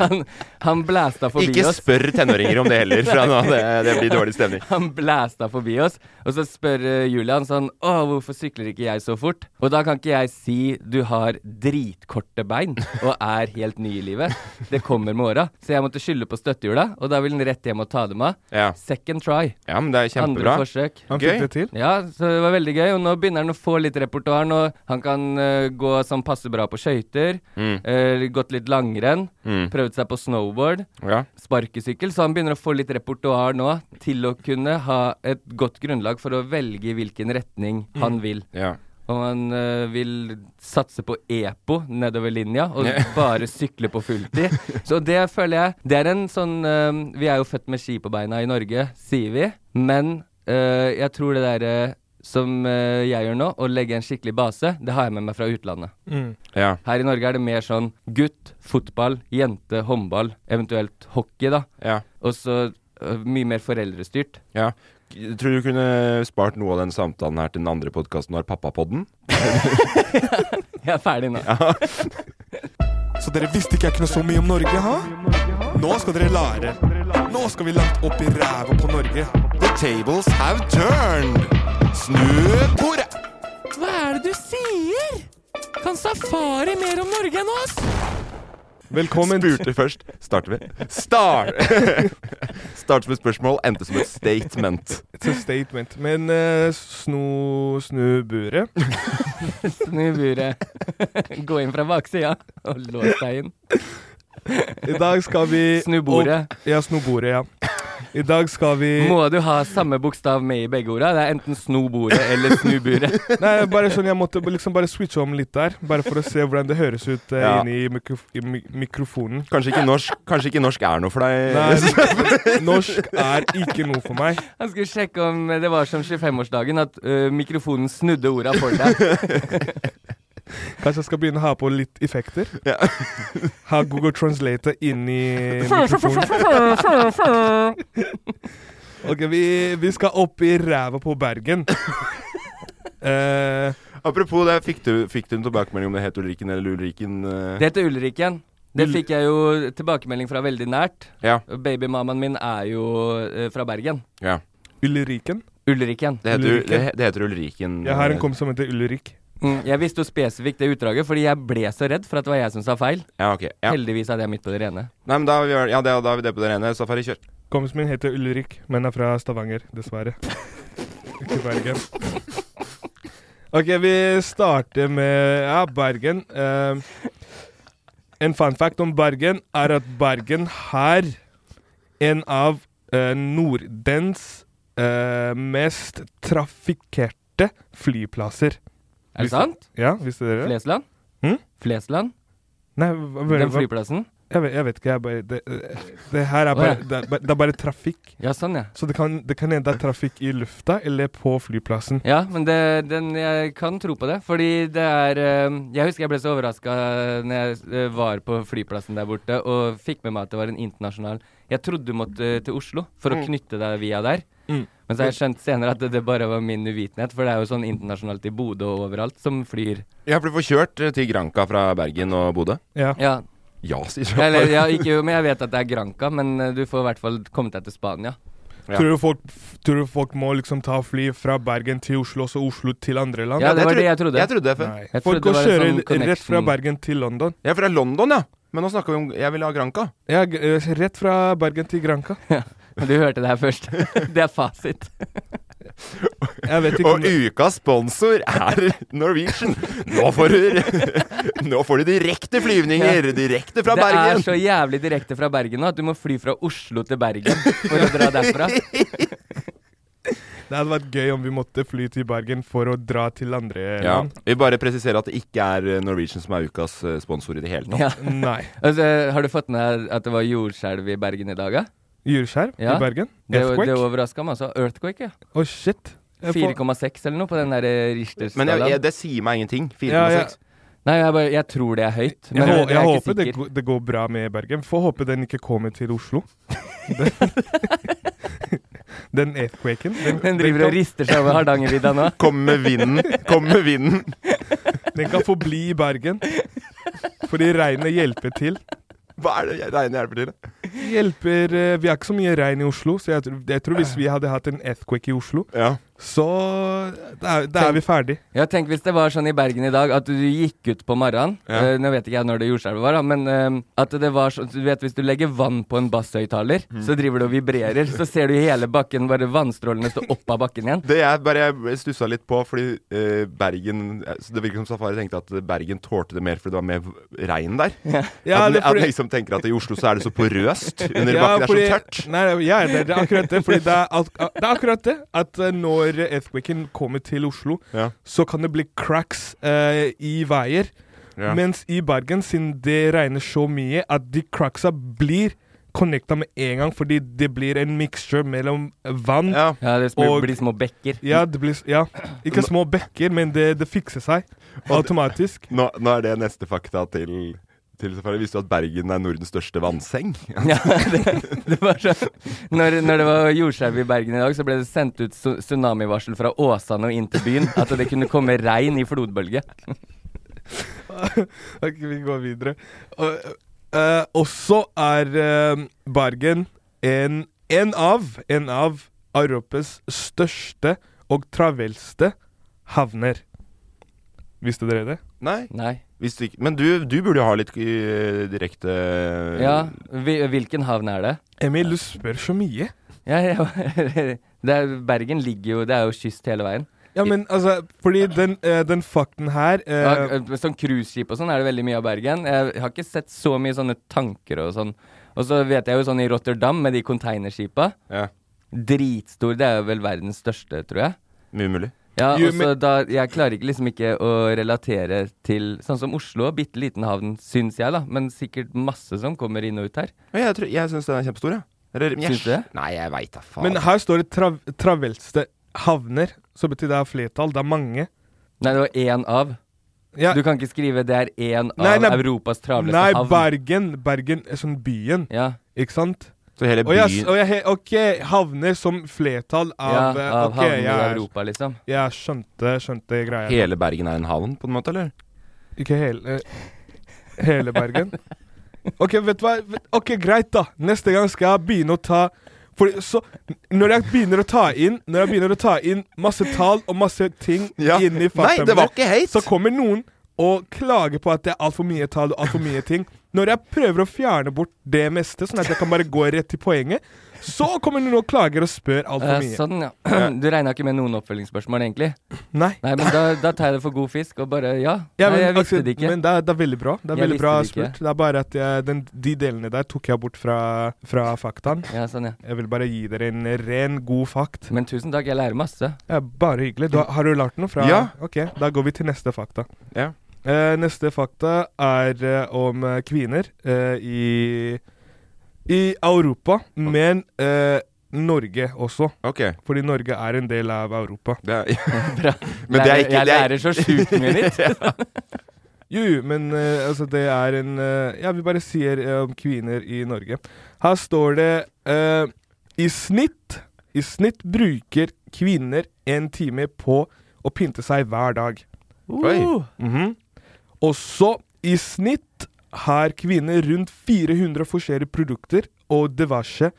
S5: han, han blæsta forbi
S3: Ikke
S5: oss.
S3: spør tenåringer om det heller, fra nå det, det blir dårlig stemning.
S5: Han blæsta forbi oss, og så spør eh, Julian sånn Å, hvorfor sykler ikke jeg så fort? Og da kan ikke jeg si du har dritkorte bein og er helt ny i livet. Det kommer med åra. Så jeg måtte skylde på støttehjula, og da vil han rett hjem og ta dem av.
S3: Ja,
S5: Second try.
S3: ja men det
S5: Andre
S3: er kjempebra.
S5: forsøk.
S4: Han
S3: Gøy.
S4: fikk det til.
S5: Ja, så det var veldig gøy, og nå begynner han å få litt repertoar. nå. Han kan eh, gå sånn passe bra på skøyter,
S3: Mm.
S5: eh, gått litt langrenn, prøvd seg på snowboard,
S3: Ja.
S5: sparkesykkel, så han begynner å få litt repertoar nå til å kunne ha et godt grunnlag for å velge i hvilken retning han
S3: Mm.
S5: vil.
S3: Ja.
S5: Om han eh, vil satse på EPO nedover linja, og bare sykle på fulltid. Så det føler jeg Det er en sånn eh, Vi er jo født med ski på beina i Norge, sier vi. Men eh, jeg tror det derre som eh, jeg gjør nå, å legge en skikkelig base, det har jeg med meg fra utlandet.
S3: ja.
S5: Her i Norge er det mer sånn gutt, fotball, jente, håndball, eventuelt hockey, da.
S3: ja.
S5: Og så eh, mye mer foreldrestyrt.
S3: ja. Tror du kunne spart noe av den samtalen her til den andre podkasten du har, Pappapodden?
S5: Jeg er ferdig nå.
S1: Så dere visste ikke jeg kunne så mye om Norge, ha? Nå skal dere lære. Nå skal vi langt opp i ræva på Norge. The tables have turned. Snu bordet.
S5: Hva er det du sier? Kan safari mer om Norge enn oss?
S4: Velkommen.
S3: Spurte først. Starter vi? Star! Start som et spørsmål, endte som et statement.
S4: It's a statement. Men eh, sno snu buret.
S5: Snu buret. Gå inn fra baksida og lås deg inn.
S4: I dag skal vi
S5: Snu bordet.
S4: Opp, ja, snu bordet, ja. I dag skal vi
S5: Må du ha samme bokstav med i begge orda? Det er enten sno bordet eller snu buret.
S4: Nei, bare sånn, Jeg måtte liksom bare switche om litt der, bare for å se hvordan det høres ut eh,
S3: Ja.
S4: inni mikrof i mi mikrofonen.
S3: Kanskje ikke norsk, kanskje ikke norsk er noe for deg.
S4: Nei, norsk er ikke noe for meg.
S5: Han skulle sjekke om det var som 25-årsdagen, at ø, mikrofonen snudde orda for deg.
S4: Kanskje jeg skal begynne å ha på litt effekter?
S3: Ja.
S4: ha Google Translate inni mikrofonen. ok, vi, vi skal opp i ræva på Bergen. Eh,
S3: Apropos det, fikk du, fikk du en tilbakemelding om det het Ulriken eller Ulriken? eh?
S5: Det heter Ulrik igjen. Det fikk jeg jo tilbakemelding fra veldig nært.
S3: Ja.
S5: Babymammaen min er jo ø, fra Bergen.
S3: ja.
S4: Ulriken.
S5: Ulriken.
S3: Det, heter,
S4: Ulriken.
S3: det, det heter Ulriken.
S4: Jeg har
S3: eh,
S4: en kompis som heter Ulrik.
S5: Mm, jeg visste jo spesifikt det utdraget, fordi jeg ble så redd for at det var jeg som sa feil.
S3: Ja, ok. Ja.
S5: Heldigvis hadde jeg midt på det rene.
S3: Nei, men da, har vi, ja, det, da har vi det på det rene. Safari, kjør.
S4: Kompisen min heter Ulrik, men er fra Stavanger, dessverre. Ikke Bergen. Ok, vi starter med ja, Bergen. Eh, en fun fact om Bergen er at Bergen har en av eh, Nordens eh, mest trafikkerte flyplasser.
S5: Er det sant?
S4: Ja, visste dere det?
S5: Flesland?
S4: Hm?
S5: Flesland?
S4: Nei, hva, hva,
S5: Den
S4: hva,
S5: flyplassen?
S4: jeg, vet, jeg vet ikke. Jeg bare, det, eh, det her er bare,
S5: Å, ja.
S4: det, er bare- det er bare trafikk.
S5: Ja, sånn, ja.
S4: Så det kan, det kan hende det er trafikk i lufta eller på flyplassen.
S5: Ja, men det, den, jeg kan tro på det. Fordi det er eh, Jeg husker jeg ble så overraska når jeg eh, var på flyplassen der borte og fikk med meg at det var en internasjonal Jeg trodde du måtte til Oslo for å knytte deg via der.
S4: Mm.
S5: Men så har jeg skjønt senere at det, det bare var min uvitenhet, for det er jo sånn internasjonalt i Bodø og overalt som flyr.
S3: Ja, for du får kjørt eh, til Granka fra Bergen og Bodø.
S4: Ja.
S5: Ja,
S3: Ja, sier
S5: eller,
S3: Safari.
S5: ja ikke, men jeg vet at det er Granca, men eh, du får i hvert fall kommet deg til Spania.
S3: Ja.
S4: Tror, du folk, tror du folk må liksom ta fly fra Bergen til Oslo, og så Oslo til andre land?
S5: Ja, det var
S3: tro-
S5: det jeg trodde.
S3: Jeg trodde det før.
S4: Nei.
S5: Jeg
S4: folk
S5: trodde det
S4: går
S5: var en
S4: kjører
S5: sånn connection.
S4: rett fra Bergen til London.
S3: Jeg er fra London, ja. Men nå snakker vi om Jeg vil ha Granka.
S4: Ja, g- eh, rett fra Bergen til Granca.
S5: Men du hørte det her først. det er fasit.
S4: Jeg vet ikke om
S3: Og ukas sponsor er Norwegian. Nå får du, nå får du direkte flyvninger! Direkte fra
S5: det
S3: Bergen.
S5: er så jævlig direkte fra Bergen nå at du må fly fra Oslo til Bergen for å dra derfra.
S4: Det hadde vært gøy om vi måtte fly til Bergen for å dra til andre
S3: Ja.
S4: land.
S3: Vi bare presiserer at det ikke er eh, Norwegian som er ukas eh, sponsor i det hele tatt.
S5: Ja.
S4: Nei.
S5: Altså, har du fått med at det var jordskjelv i Bergen i dag? Ja?
S4: Jordskjelv
S5: Ja.
S4: i Bergen?
S5: Det, det
S4: Earthquake? Å,
S5: overraska meg. altså. Earthquake, ja.
S4: shit. Jeg får-
S5: 4,6 eller noe på den der eh,
S3: Men jeg, jeg,
S5: Richter-skalaen.
S3: det sier meg ingenting. 4,6.
S4: Ja, ja.
S5: Nei, jeg, bare, jeg tror det er høyt.
S4: Jeg,
S5: Men
S4: hå-
S5: jeg
S4: jeg
S5: er ikke
S4: håper det,
S5: sikker.
S4: går- det går bra med Bergen. Får håpe den ikke kommer til Oslo. den earthquaken. Den,
S5: Den driver og
S4: kan,
S5: rister seg over Hardangervidda nå.
S3: Kom med vinden! Kom med vinden!
S4: den kan forbli i Bergen. Fordi regnet hjelper til.
S3: Hva er det jeg regner hjelper til?
S4: Hjelper, eh, vi har ikke så mye regn i Oslo, så jeg, tror- jeg tror hvis vi hadde hatt en earthquake i Oslo,
S3: Ja.
S4: så da er, da er vi ferdig.
S5: Ja, tenk hvis det var sånn i Bergen i dag at du gikk ut på morgenen eh, Nå vet ikke jeg når det jordskjelvet var, da, men eh, at det var sånn Du vet hvis du legger vann på en basshøyttaler,
S3: Mm.
S5: så driver du og vibrerer. Så ser du hele bakken, bare vannstrålene stå opp av bakken igjen.
S3: Det jeg bare jeg stussa litt på, fordi eh, Bergen eh, så Det virker som Safari tenkte at Bergen tålte det mer fordi det var mer v- regn der.
S4: Ja,
S3: at,
S4: det er
S3: den- at
S4: fordi-
S3: den liksom tenker at i Oslo så er det så porøst under
S4: Ja,
S3: bakken. Det
S4: fordi-
S3: er så tørt.
S4: Nei, nei, ja, det, det er akkurat det. Fordi det er, alt, det er akkurat det at eh, når earthquaken kommer til Oslo,
S3: Ja.
S4: så kan det bli cracks eh, i veier.
S3: Ja.
S4: Mens i Bergen, siden det regner så mye, at de cracksa blir connecta med en gang, fordi det blir en mixture mellom vann
S3: Ja.
S5: Ja, det blir,
S4: Og-
S5: blir små bekker.
S4: Ja, det blir, s- ja. ikke små bekker, men det, det fikser seg automatisk.
S3: Nå, nå er det neste fakta til, til Safari. Visste du at Bergen er Nordens største vannseng?
S5: Ja, det, det var så, når, når det var jordskjelv i Bergen i dag, så ble det sendt ut tsu- tsunamivarsel fra Åsane og inn til byen. At det kunne komme regn i flodbølge.
S4: Ok, vi går videre. Og, eh, også er eh, Bergen en, en av en av Europas største og travelste havner. Visste dere det?
S3: Nei.
S5: Nei.
S3: Visste ikke. Men du, du burde jo ha litt eh, direkte
S5: Ja, vi, hvilken havn er det?
S4: Emil, du spør så mye.
S5: Ja, ja. Det er, Bergen ligger jo Det er jo kyst hele veien.
S4: Ja, men altså, fordi den, eh, den fakten her eh,
S5: Ja, sånn cruiseskip og sånn er det veldig mye av Bergen. Jeg har ikke sett så mye sånne tanker og sånn Og så vet jeg jo sånn i Rotterdam, med de containerskipa
S3: Ja.
S5: Dritstor. Det er jo vel verdens største, tror jeg.
S3: Mye mulig.
S5: Ja,
S4: Jo,
S5: og så da Jeg klarer ikke liksom ikke å relatere til Sånn som Oslo, bitte liten havn, syns jeg, da. Men sikkert masse som kommer inn og ut her.
S3: Men jeg tror- jeg syns den er kjempestor, jeg. Eller, jeg-
S5: Syns du det?
S3: Nei, jeg veit da faen.
S4: Men her står det trav travelste havner, så betyr det er flertall. Det er mange.
S5: Nei, det var én av.
S4: Ja.
S5: Du kan ikke skrive 'det er én av
S4: Nei, nei,
S5: Europas travleste
S4: Nei,
S5: havn'.
S4: Bergen. Bergen er sånn byen,
S5: ja.
S4: ikke sant?
S3: så hele
S4: Og
S3: byen
S4: jeg, s- og jeg, he- ok, havner som flertall av
S5: ja,
S4: eh,
S5: av
S4: ok,
S5: havner i
S4: jeg,
S5: Europa, liksom.
S4: jeg skjønte, skjønte greia.
S3: Hele Bergen er en havn, på en måte, eller?
S4: Ikke hele eh, Hele Bergen. Ok, vet du hva? Vet- Ok, Greit, da. Neste gang skal jeg begynne å ta Fordi så Når jeg begynner å ta inn Når jeg begynner å ta inn masse tall og masse ting
S3: Ja.
S4: inn i
S3: Nei, det var ikke hate.
S4: så kommer noen og klager på at det er altfor mye tall og altfor mye ting. Når jeg prøver å fjerne bort det meste, sånn at jeg kan bare gå rett til poenget, så kommer noen og klager og spør altfor
S5: Eh,
S4: mye.
S5: sånn, ja. Du regna ikke med noen oppfølgingsspørsmål, egentlig?
S4: Nei.
S5: Nei, men da, da tar jeg det for god fisk, og bare Ja,
S4: Ja, men,
S5: nei, jeg visste
S4: Aksel,
S5: det ikke.
S4: Men det er, det er veldig bra. Det er
S5: Jeg
S4: veldig
S5: visste
S4: bra
S5: det ikke.
S4: spurt. Det er bare at jeg, den, de delene der tok jeg bort fra, fra faktaen.
S5: Ja, sånn, ja.
S4: Jeg vil bare gi dere en ren, god fakt.
S5: Men tusen takk, jeg lærer masse.
S4: Ja, bare hyggelig. Du, har- har du lært noe fra
S3: Ja.
S4: Ok, da går vi til neste fakta.
S3: Ja.
S4: Eh, neste fakta er eh, om eh, kvinner eh, i I Europa, men eh, Norge også.
S3: Ok.
S4: Fordi Norge er en del av Europa.
S3: Det er,
S5: Bra.
S3: Men det er
S5: Lærer-
S3: ikke-
S5: jeg
S3: det er-
S5: lærer så sjukt mye nytt.
S4: Jo, jo, men eh, altså, det er en eh, Ja, vi bare sier eh, om kvinner i Norge. Her står det eh, I snitt I snitt bruker kvinner en time på å pynte seg hver dag.
S3: Oi.
S4: Mhm. Og så, i snitt, har kvinner rundt 400 forskjellige produkter og diverse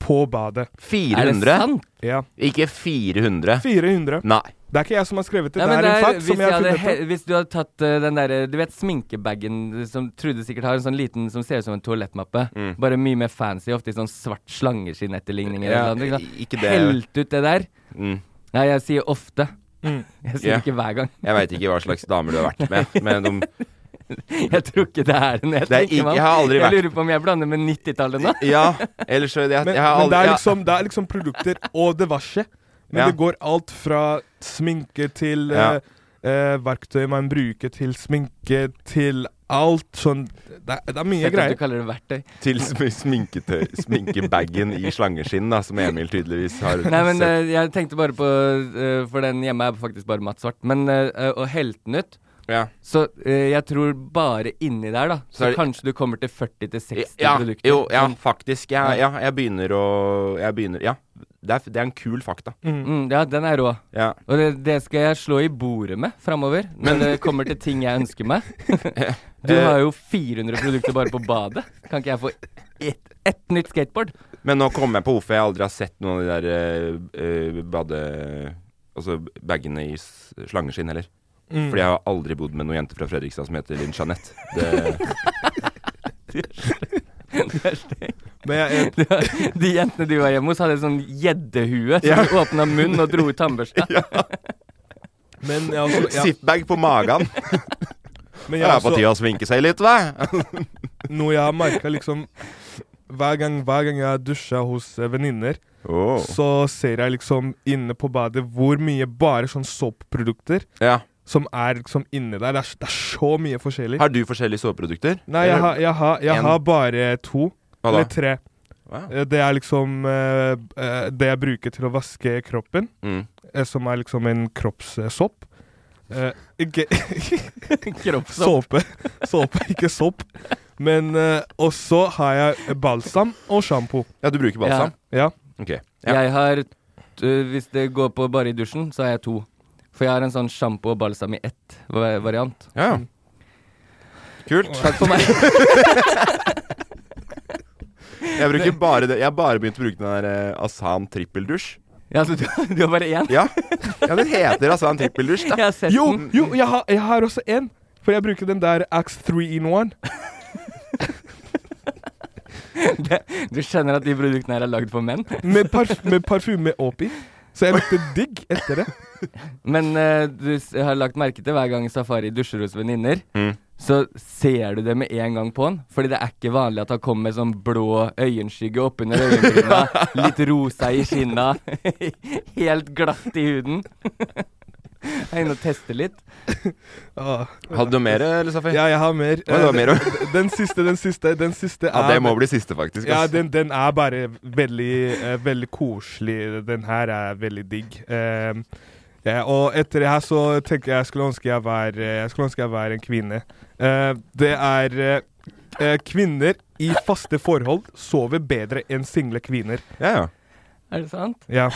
S4: på badet.
S5: Er det
S3: 400?
S5: sant?
S4: Ja,
S3: Ikke 400.
S4: 400.
S3: Nei.
S4: Det er ikke jeg som har skrevet det,
S5: Ja,
S4: det
S5: men
S4: er en fakt
S5: hvis,
S4: som jeg
S5: jeg
S4: har
S5: hadde,
S4: funnet
S5: he-
S4: på.
S5: hvis du hadde tatt eh, den derre Du vet sminkebagen eh, som Trude sikkert har, en sånn liten som ser ut som en toalettmappe.
S3: Mm.
S5: Bare mye mer fancy, ofte i sånn svart slangeskinn-etterligninger.
S3: Ja,
S5: eller noe sånt,
S3: ikke det.
S5: Helt ut det der.
S3: Mm.
S5: Nei, jeg sier ofte.
S4: Mm.
S5: Jeg sier
S3: Ja.
S5: ikke hver gang.
S3: Jeg veit ikke hva slags damer du har vært med, men de
S5: Jeg tror ikke det er en jeg
S3: Det er
S5: tenker
S3: ikke-
S5: meg om.
S3: jeg har aldri
S5: Jeg
S3: vært-
S5: lurer på om jeg blander med 90-tallet nå.
S3: Ja, ellers så jeg, jeg,
S4: Men,
S3: har
S4: men det,
S3: aldri
S4: er
S3: ja.
S4: liksom, det er liksom produkter og diverse. Men
S3: Ja.
S4: det går alt fra sminke til
S3: Ja.
S4: eh, eh, verktøy man bruker til sminke, til alt sånn Det, er- det er mye
S5: Jeg tror
S4: greier.
S5: du kaller det verktøy.
S3: Til sm sminketøy, sminkebagen i slangeskinn, da, som Emil tydeligvis har
S5: Nei, men
S3: sett.
S5: eh, jeg tenkte bare på eh, For den hjemme er faktisk bare matt svart. Men eh, å helte den ut
S3: Ja.
S5: Så eh, jeg tror bare inni der, da.
S3: Så
S5: Så,
S3: er det-
S5: kanskje du kommer til 40-60
S3: Ja,
S5: produkter.
S3: jo, ja,
S5: Sånn.
S3: faktisk. Jeg, ja, jeg begynner å Jeg begynner Ja. Det er, f- det er en kul fakta.
S5: Mm, ja, den er rå.
S3: Ja.
S5: Og det, det skal jeg slå i bordet med framover, når det kommer til ting jeg ønsker meg. Du
S3: Eh.
S5: har jo 400 produkter bare på badet. Kan ikke jeg få ett ett nytt skateboard?
S3: Men nå kommer jeg på hvorfor jeg aldri har sett noen av de der eh, eh, bade... Altså bagene i s- slangeskinn heller.
S4: Mm.
S3: Fordi jeg har aldri bodd med noen jente fra Fredrikstad som heter Linn Jeanette. Det,
S4: Men jeg, jeg,
S5: De jentene du var hjemme hos, hadde sånn gjeddehue som åpna munnen og dro ut tannbørsta.
S4: men jeg, også, jeg,
S3: Zipbag på magen.
S4: men
S3: Det
S4: jeg
S3: er på
S4: også,
S3: tide å sminke seg litt, hva?
S4: noe jeg har merka liksom hver gang, hver gang jeg dusjer hos eh, venninner,
S3: Oh.
S4: så ser jeg liksom inne på badet hvor mye bare sånn såpprodukter
S3: Ja.
S4: som er liksom inne der. Det er, det er så mye forskjellig.
S3: Har du forskjellige soveprodukter?
S4: Nei, jeg, har- jeg, har, jeg
S3: En-
S4: har bare to.
S3: Hva da?
S4: Eller tre.
S3: Wow.
S4: Eh, Det er liksom eh, eh, det jeg bruker til å vaske kroppen,
S3: Mm.
S4: eh, som er liksom en kroppssopp. Eh, ikke
S5: Kroppssopp.
S4: såpe. Såpe, ikke sopp. Men eh, Og så har jeg balsam og sjampo.
S3: Ja, du bruker balsam?
S4: Ja.
S3: Ok. Ja.
S5: Jeg har t- øh, Hvis det går på bare i dusjen, så har jeg to. For jeg har en sånn sjampo og balsam i ett va- variant.
S3: ja. Kult.
S5: Mm. Takk for meg.
S3: Jeg bruker bare det. Jeg har bare begynt å bruke den der eh, Asan trippeldusj.
S5: Ja, så du, du har bare én?
S3: Ja. ja, den heter Asan trippeldusj,
S5: Jeg
S3: da.
S5: har sett
S4: Jo,
S5: den.
S4: jo jeg, har, jeg har også én. For jeg bruker den der Axe 3 in 1.
S5: Du skjønner at de produktene her er lagd for menn.
S4: Med, parf med parfyme oppi. Så jeg lukter digg etter det.
S5: Men eh, du s- har lagt merke til hver gang Safari dusjer hos venninner, så ser du det med en gang på han. Fordi det er ikke vanlig at han kommer med sånn blå øyenskygge oppunder øyenbryna, litt rosa i kinna, helt glatt i huden. Jeg er inne og tester litt.
S4: Ah.
S3: Hadde du mer, eller, Safi?
S4: Ja, jeg har mer.
S3: Oi, det var mer også.
S4: Den- den siste, den siste. Den siste er
S3: Ja, det må bli siste, faktisk.
S4: Ja,
S3: ass.
S4: den, den er bare veldig, eh, veldig koselig. Den her er veldig digg. Ehm, ja, og etter det her så tenker jeg jeg skulle ønske jeg var, eh, jeg skulle ønske jeg var en kvinne. Eh, det er eh, eh, Kvinner i faste forhold sover bedre enn single kvinner.
S3: ja, ja.
S5: Er det sant?
S4: Ja.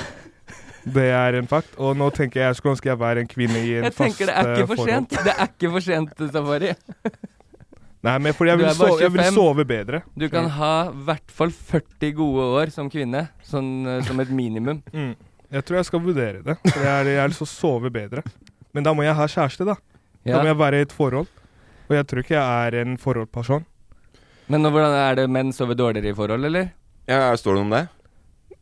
S4: Det er en fakt. Og nå tenker jeg jeg skulle ønske jeg var en kvinne i en
S5: Jeg
S4: fast
S5: tenker det er ikke
S4: eh,
S5: for
S4: forhold.
S5: sent. Det er ikke for sent, Safari.
S4: Nei, men fordi jeg
S5: Du
S4: vil,
S5: er bare
S4: sove, jeg vil
S5: 25.
S4: sove bedre.
S5: Du kan ha i hvert fall 40 gode år som kvinne, sånn eh, som et minimum.
S4: Mm. Jeg tror jeg skal vurdere det. For jeg, er- jeg har lyst til å sove bedre. Men da må jeg ha kjæreste, da. Da
S5: Ja.
S4: må jeg være i et forhold. Og jeg tror ikke jeg er en forholdsperson.
S5: Men hvordan er det menn sover dårligere i forhold, eller?
S3: ja står det noe om det?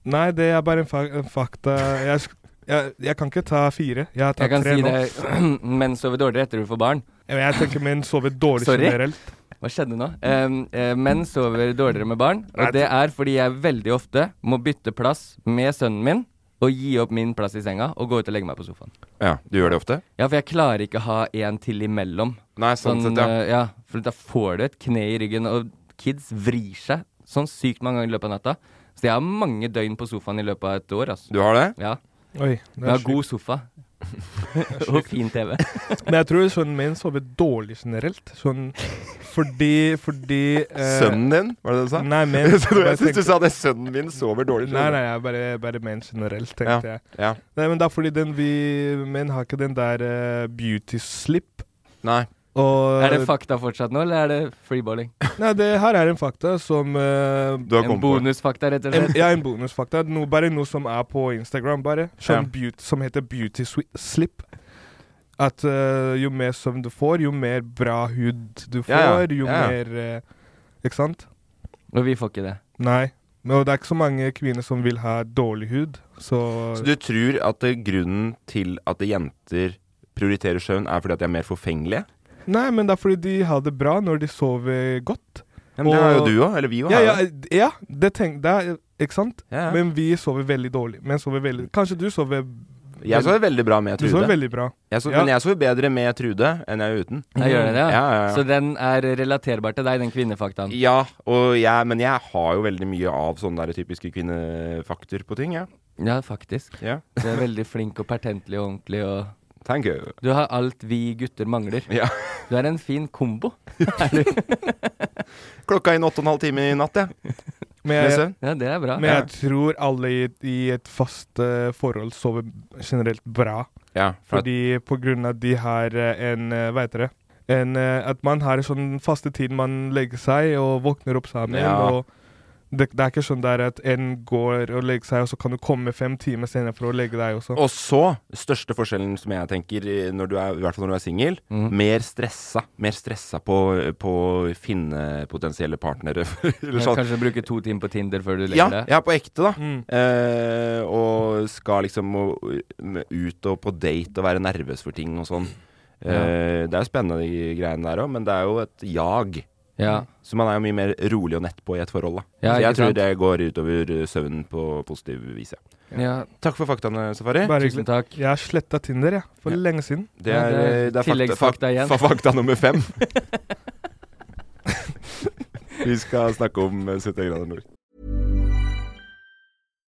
S4: Nei, det er bare en, fa en fakta. Jeg, sk- jeg, jeg kan ikke ta fire. Jeg har
S5: Jeg
S4: tatt
S5: kan
S4: tre
S5: si
S4: nå.
S5: det. menn sover dårligere etter du får barn.
S4: Ja, men Jeg tenker menn sover dårlig
S5: Sorry?
S4: generelt.
S5: Hva skjedde nå? Um, eh, menn sover dårligere med barn,
S4: Nei,
S5: og det er fordi jeg veldig ofte må bytte plass med sønnen min og gi opp min plass i senga og gå ut og legge meg på sofaen.
S3: Ja, Du gjør det ofte?
S5: Ja, for jeg klarer ikke ha en til imellom.
S3: Nei, sånn, sett, ja.
S5: eh, ja. For da får du et kne i ryggen, og kids vrir seg sånn sykt mange ganger i løpet av natta. Så jeg har mange døgn på sofaen i løpet av et år, altså.
S3: Du har det?
S5: Ja.
S4: Oi, det
S5: Jeg
S4: er
S5: har
S4: sjukt.
S5: god sofa. og fin TV.
S4: Men jeg tror sånn menn sover dårlig generelt. Sånn fordi Fordi eh,
S3: Sønnen din, var det det du sa?
S4: Nei, men
S3: Mm, Jeg syns du
S4: tenkte-
S3: sa det. Sønnen min sover dårlig.
S4: Nei, nei, jeg bare, bare menn generelt, tenkte jeg.
S3: Ja.
S4: Nei, men det er fordi den vi menn har ikke den der eh, beauty slip.
S3: Nei.
S4: Og
S5: Er det fakta fortsatt nå, eller er det freeballing?
S4: Nei, det her er en fakta som eh,
S3: Du har
S5: En
S3: kommet på det.
S5: bonusfakta, rett og
S4: en,
S5: slett.
S4: Ja, en bonusfakta. No, bare noe som er på Instagram, bare. Som,
S3: Ja.
S4: beauty, som heter beauty swi- slip. At eh, jo mer søvn du får, jo mer bra hud du får,
S3: Ja, ja.
S4: jo
S3: Ja, ja.
S4: mer eh, Ikke sant?
S5: Og vi får ikke det.
S4: Nei. Men det er ikke så mange kvinner som vil ha dårlig hud, så,
S3: Så du tror at eh, grunnen til at jenter prioriterer søvn, er fordi at de er mer forfengelige?
S4: Nei, men det er fordi de har det bra når de sover godt.
S3: Ja, men det
S4: Og-
S3: har jo eh, du òg. Eller vi òg.
S4: Ja, ja, ja det tenk, det er, ikke sant?
S3: Ja, ja.
S4: Men vi sover veldig dårlig. Men sover veldig Kanskje du sover
S3: Jeg sover veldig bra med
S4: Du sover
S3: Trude.
S4: veldig bra.
S3: Jeg sover,
S4: ja.
S3: Men jeg sover bedre med Trude enn jeg er uten.
S5: Jeg gjør det, ja.
S3: Ja, ja, ja.
S5: Så den er relaterbar til deg, den kvinnefaktaen.
S3: Ja, og jeg, men jeg har jo veldig mye av sånne der typiske kvinnefakter på ting, jeg.
S5: Ja, faktisk.
S3: Ja.
S5: Du er veldig flink og pertentlig og ordentlig og
S3: Thank you.
S5: Du har alt vi gutter mangler.
S3: Ja.
S5: Du er en fin kombo.
S3: Klokka er inn åtte og en halv time i natt, jeg.
S4: Men
S3: Med
S4: jeg,
S3: søvn.
S5: Ja, det er bra.
S4: men jeg tror alle i, i et fast eh, forhold sover generelt bra.
S3: Ja, for at-
S4: Fordi på grunn av de har eh, en eh, Hva heter det? En, eh, at man har en sånn faste tid man legger seg og våkner opp sammen.
S3: Ja.
S4: og det, det er ikke sånn der at en går og legger seg, og så kan du komme fem timer senere for å legge deg også.
S3: Og så, største forskjellen som jeg tenker, eh, når du er, i hvert fall når du er singel,
S5: Mhm.
S3: mer stressa. Mer stressa på, på å finne potensielle partnere. Eller
S5: Men
S3: sånn.
S5: Kanskje bruke to timer på Tinder før du legger
S3: Ja,
S5: deg.
S3: ja, på ekte, da.
S5: Mm.
S3: Eh, og skal liksom og, ut og på date og være nervøs for ting og sånn. Eh, Det er jo spennende, de greiene der òg, men det er jo et jag.
S5: Ja.
S3: Så man er jo mye mer rolig og nett på i et forhold, da.
S5: Ja,
S3: så jeg
S5: ikke
S3: tror
S5: sant?
S3: det går utover eh, søvnen på positiv vis, ja.
S5: ja. ja.
S3: Takk for faktaene, Safari.
S4: Bare
S5: Tusen
S4: hyggelig.
S5: takk.
S4: Jeg har sletta Tinder, jeg. For
S3: Ja.
S4: lenge siden.
S3: Det
S5: Ja,
S3: er,
S5: det er
S3: eh, det er fakta,
S5: tilleggsfakta
S3: fak-
S5: igjen.
S3: fa- fakta nummer fem. Vi skal snakke om eh, 70 grader nord.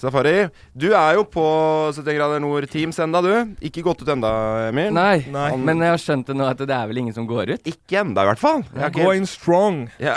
S3: Safari, du er jo på 70 grader nord-teams enda, du. Ikke gått ut enda, Emil.
S5: Nei,
S4: Nei.
S5: men jeg har skjønt det nå at det er vel ingen som går ut?
S3: Ikke enda, i hvert fall. Jeg har ikke-
S4: Going strong.
S3: Ja,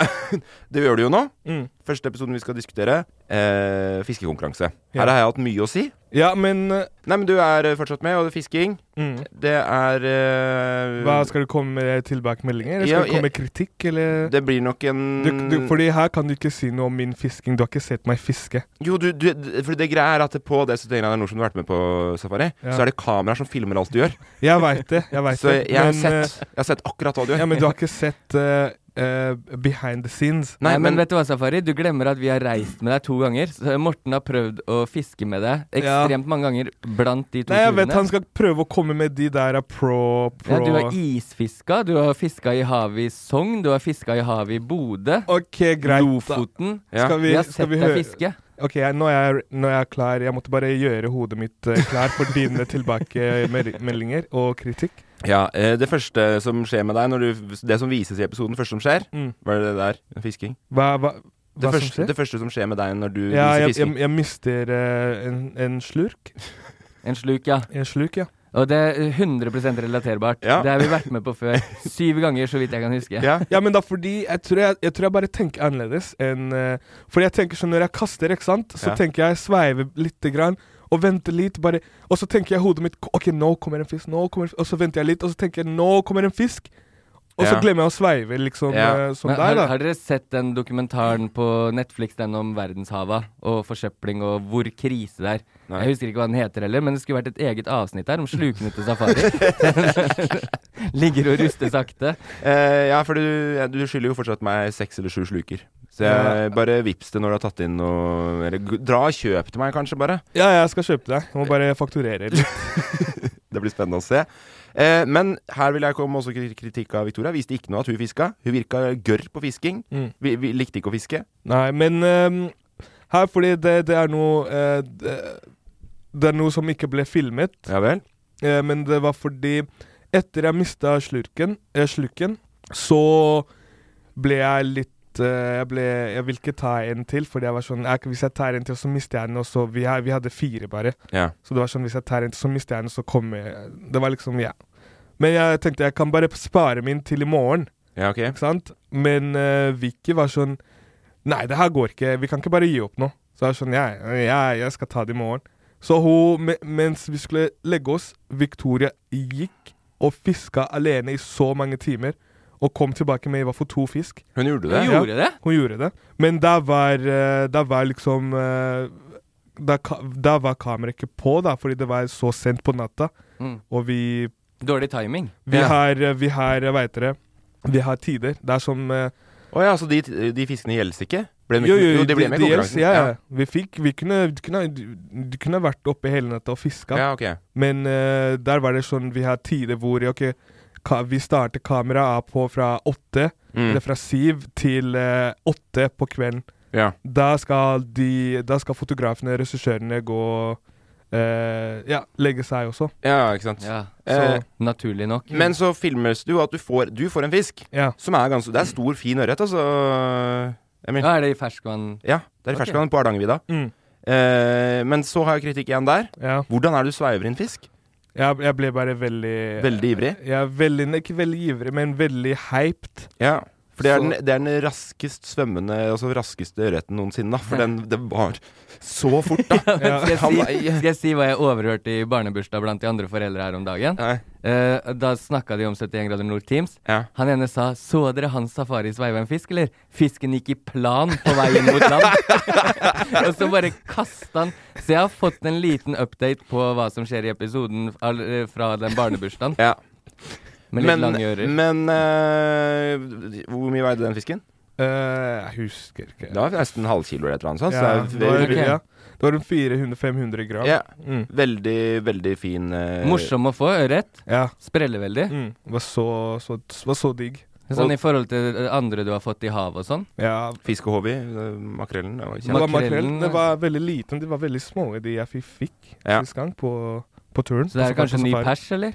S3: det gjør du jo nå.
S4: Mm.
S3: Første episoden vi skal diskutere, eh, fiskekonkurranse.
S4: Ja.
S3: Her har jeg hatt mye å si.
S4: Ja, men eh,
S3: Nei, men du er eh, fortsatt med, og det er fisking.
S4: mm.
S3: Det er eh,
S4: Hva, Skal du komme med tilbakemeldinger? Eller skal
S3: Ja,
S4: du komme
S3: jeg-
S4: med kritikk, eller
S3: Det blir nok en
S4: du, du,
S3: Mm.
S4: Fordi her kan du ikke si noe om min fisking. Du har ikke sett meg fiske.
S3: Jo, du, du For det greia er at på det 71 grader nord som du har vært med på safari,
S4: Ja.
S3: så er det kameraer som filmer alt du gjør.
S4: Jeg veit det. jeg vet
S3: Så
S4: det
S3: jeg, jeg, har
S4: men,
S3: sett, jeg har sett akkurat hva du
S4: eh,
S3: gjør.
S4: Ja, men du har ikke sett eh, eh, behind the scenes.
S5: Nei, men,
S3: men
S5: vet du hva, Safari? Du glemmer at vi har reist med deg to ganger. Så Morten har prøvd å fiske med deg
S4: Ja.
S5: ekstremt mange ganger blant de to
S4: Nei, jeg vet
S5: turene.
S4: han skal prøve å komme med de der eh, pro,
S5: Ja,
S4: pro.
S5: du har isfiska, du har fiska i havet i Sogn, du har fiska i havet i Bodø.
S4: OK, greit. da.
S5: Lofoten.
S3: Ja.
S4: Skal
S5: Vi
S4: vi,
S5: har
S4: skal
S5: sett
S4: vi
S5: deg
S4: høre
S5: fiske.
S4: Ok, jeg, nå, er, jeg- nå er jeg klar. Jeg måtte bare gjøre hodet mitt eh, klar for dine tilbakemeldinger og kritikk.
S3: ja, eh, Det første som skjer med deg, når du, det som vises i episoden, første som skjer,
S4: Mm.
S3: var det det der? Fisking?
S4: Hva, hva,
S3: Det,
S4: hva som
S3: første,
S4: skjer?
S3: det første som skjer med deg når du
S4: Ja,
S3: viser
S4: jeg,
S3: fisking?
S4: jeg, jeg mister eh, en, en slurk.
S5: En sluk, ja.
S4: En sluk, ja.
S5: Og det er 100 relaterbart.
S3: Ja.
S5: Det har vi vært med på før. Syv ganger, så vidt jeg kan huske.
S3: ja.
S4: Ja, men da fordi Jeg tror jeg, jeg, tror jeg bare tenker annerledes enn eh, Fordi jeg tenker sånn når jeg kaster, ikke sant, så
S3: Ja.
S4: tenker jeg sveiver lite grann. Og venter litt, bare Og så tenker jeg i hodet mitt "Ko- OK, nå kommer en fisk, nå kommer en fisk Og så venter jeg litt, og så tenker jeg nå kommer en fisk. Og så
S3: Ja.
S4: glemmer jeg å sveive, liksom,
S3: Ja.
S4: eh, som
S5: Men
S4: deg,
S5: har,
S4: da.
S5: har dere sett den dokumentaren på Netflix, den om verdenshava og forsøpling og hvor krise det er?
S3: Nei.
S5: Jeg husker ikke hva den heter heller, men det skulle vært et eget avsnitt her om slukene til safari. Ligger og ruster sakte.
S3: Eh, ja, for du, ja, du skylder jo fortsatt meg seks eller sju sluker. Så
S4: Ja.
S3: jeg bare vips det når du har tatt inn noe Eller g- dra og kjøp til meg, kanskje, bare.
S4: Ja, jeg skal kjøpe deg. Jeg må bare fakturere litt.
S3: Det blir spennende å se. Eh, men her vil jeg komme også kri- kritikk av Victoria. Viste ikke noe at hun fiska. Hun virka gørr på fisking.
S4: Mm.
S3: Vi, vi likte ikke å fiske.
S4: Nei, men ehm, her, fordi det, det er noe eh, det, det er noe som ikke ble filmet,
S3: Ja vel?
S4: eh, men det var fordi etter jeg mista slurken, eh, sluken, så ble jeg litt eh, jeg, ble, jeg vil ikke ta en til, fordi jeg var sånn "Nei, Hvis jeg tar en til, så mister jeg den. Og så vi, ha- vi hadde fire, bare.
S3: Ja.
S4: Så det var sånn hvis jeg tar en til, så mister jeg den, så kommer jeg Det var liksom, ja. Men jeg tenkte jeg kan bare spare min til i morgen.
S3: Ja, ok.
S4: Ikke sant? Men eh, Vicky var sånn Nei, det her går ikke. Vi kan ikke bare gi opp nå. Så jeg var sånn, jeg, jeg, jeg skal ta det i morgen. Så hun, me- mens vi skulle legge oss, Victoria gikk og fiska alene i så mange timer. Og kom tilbake med hva for to fisk.
S3: Hun gjorde
S5: Hun
S3: det.
S4: Ja.
S5: gjorde det?
S4: Hun gjorde det. Men der var, eh, der var liksom eh, der, ka- der var kameraet ikke på, da, fordi det var så sent på natta.
S5: Mm.
S4: Og vi
S5: Dårlig timing.
S4: Vi
S3: Ja.
S4: har, eh, vi har eh, hva heter det Vi har tider. Det er som eh,
S3: Å ja, så de, de fiskene gjelder ikke? Ble de, jo, de ble med i
S4: de- de-
S3: konkurransen?
S4: Ja, ja. Vi fikk Vi kunne Du kunne, du kunne vært oppe hele natta og fiska,
S3: ja. ja, ok.
S4: men eh, der var det sånn Vi har tider hvor ok, ka, vi starter kameraet på fra åtte,
S3: Mm.
S4: eller fra syv til eh, åtte på kvelden.
S3: Ja.
S4: Da skal de Da skal fotografene, regissørene, gå eh, Ja, legge seg også.
S3: ja, ikke sant.
S5: Ja,
S3: Eh,
S5: Naturlig nok.
S3: men så filmes det jo at du får, du får en fisk
S4: Ja.
S3: som er ganske Det er stor, fin ørret, altså. Emil.
S5: Ja, er det i ferskvann
S3: Ja, det er i
S5: Ok.
S3: ferskvann på Hardangervidda.
S4: Mm.
S3: Eh, men så har jeg kritikk igjen der.
S4: ja.
S3: Hvordan er det du sveiver inn fisk?
S4: Jeg, jeg ble bare veldig
S3: Veldig ivrig.
S4: Jeg er veldig, ikke veldig ivrig, men veldig hyped.
S3: Ja. For det er,
S4: Så-
S3: den, det er den raskest svømmende, altså raskeste ørreten noensinne, da. For den, det var så fort, da.
S5: skal, jeg
S3: Han var-
S5: si, skal jeg si hva jeg overhørte i barnebursdag blant de andre foreldre her om dagen?
S3: Nei.
S5: Eh, da snakka de om 71 grader nord Teams.
S3: Ja.
S5: Han ene sa 'Så dere hans safari sveiva en fisk, eller?' Fisken gikk i plan på vei inn mot land. og så bare kasta han. Så jeg har fått en liten update på hva som skjer i episoden all- eh, fra den barnebursdagen.
S3: ja.
S5: Med litt
S3: Men,
S5: lange ører.
S3: men eh, hvor mye veide den fisken?
S4: Eh, jeg husker ikke.
S3: Det var nesten en halv kilo eller et eller annet sånt.
S4: ja,
S3: så
S4: det
S3: det
S4: var,
S3: er
S5: Ok.
S4: ja, det var rundt 400-500 gram.
S3: ja,
S4: Mm,
S3: veldig, veldig fin eh,
S5: Morsom å få ørret.
S4: ja.
S5: Spreller veldig.
S4: Mm, var, så, så, var så digg.
S5: Sånn i forhold til eh, andre du har fått i havet og sånn.
S4: Ja,
S3: Fiskehobby. eh, Makrellen. det var
S4: det
S3: kjent.
S4: var
S5: Makrellen- eh.
S4: makrellen. Det var veldig liten. De var veldig små, de jeg fikk, fikk
S3: Ja.
S4: sist gang på, på turen.
S5: Så det er
S4: På
S5: kanskje en ny
S4: safari.
S5: pers, eller?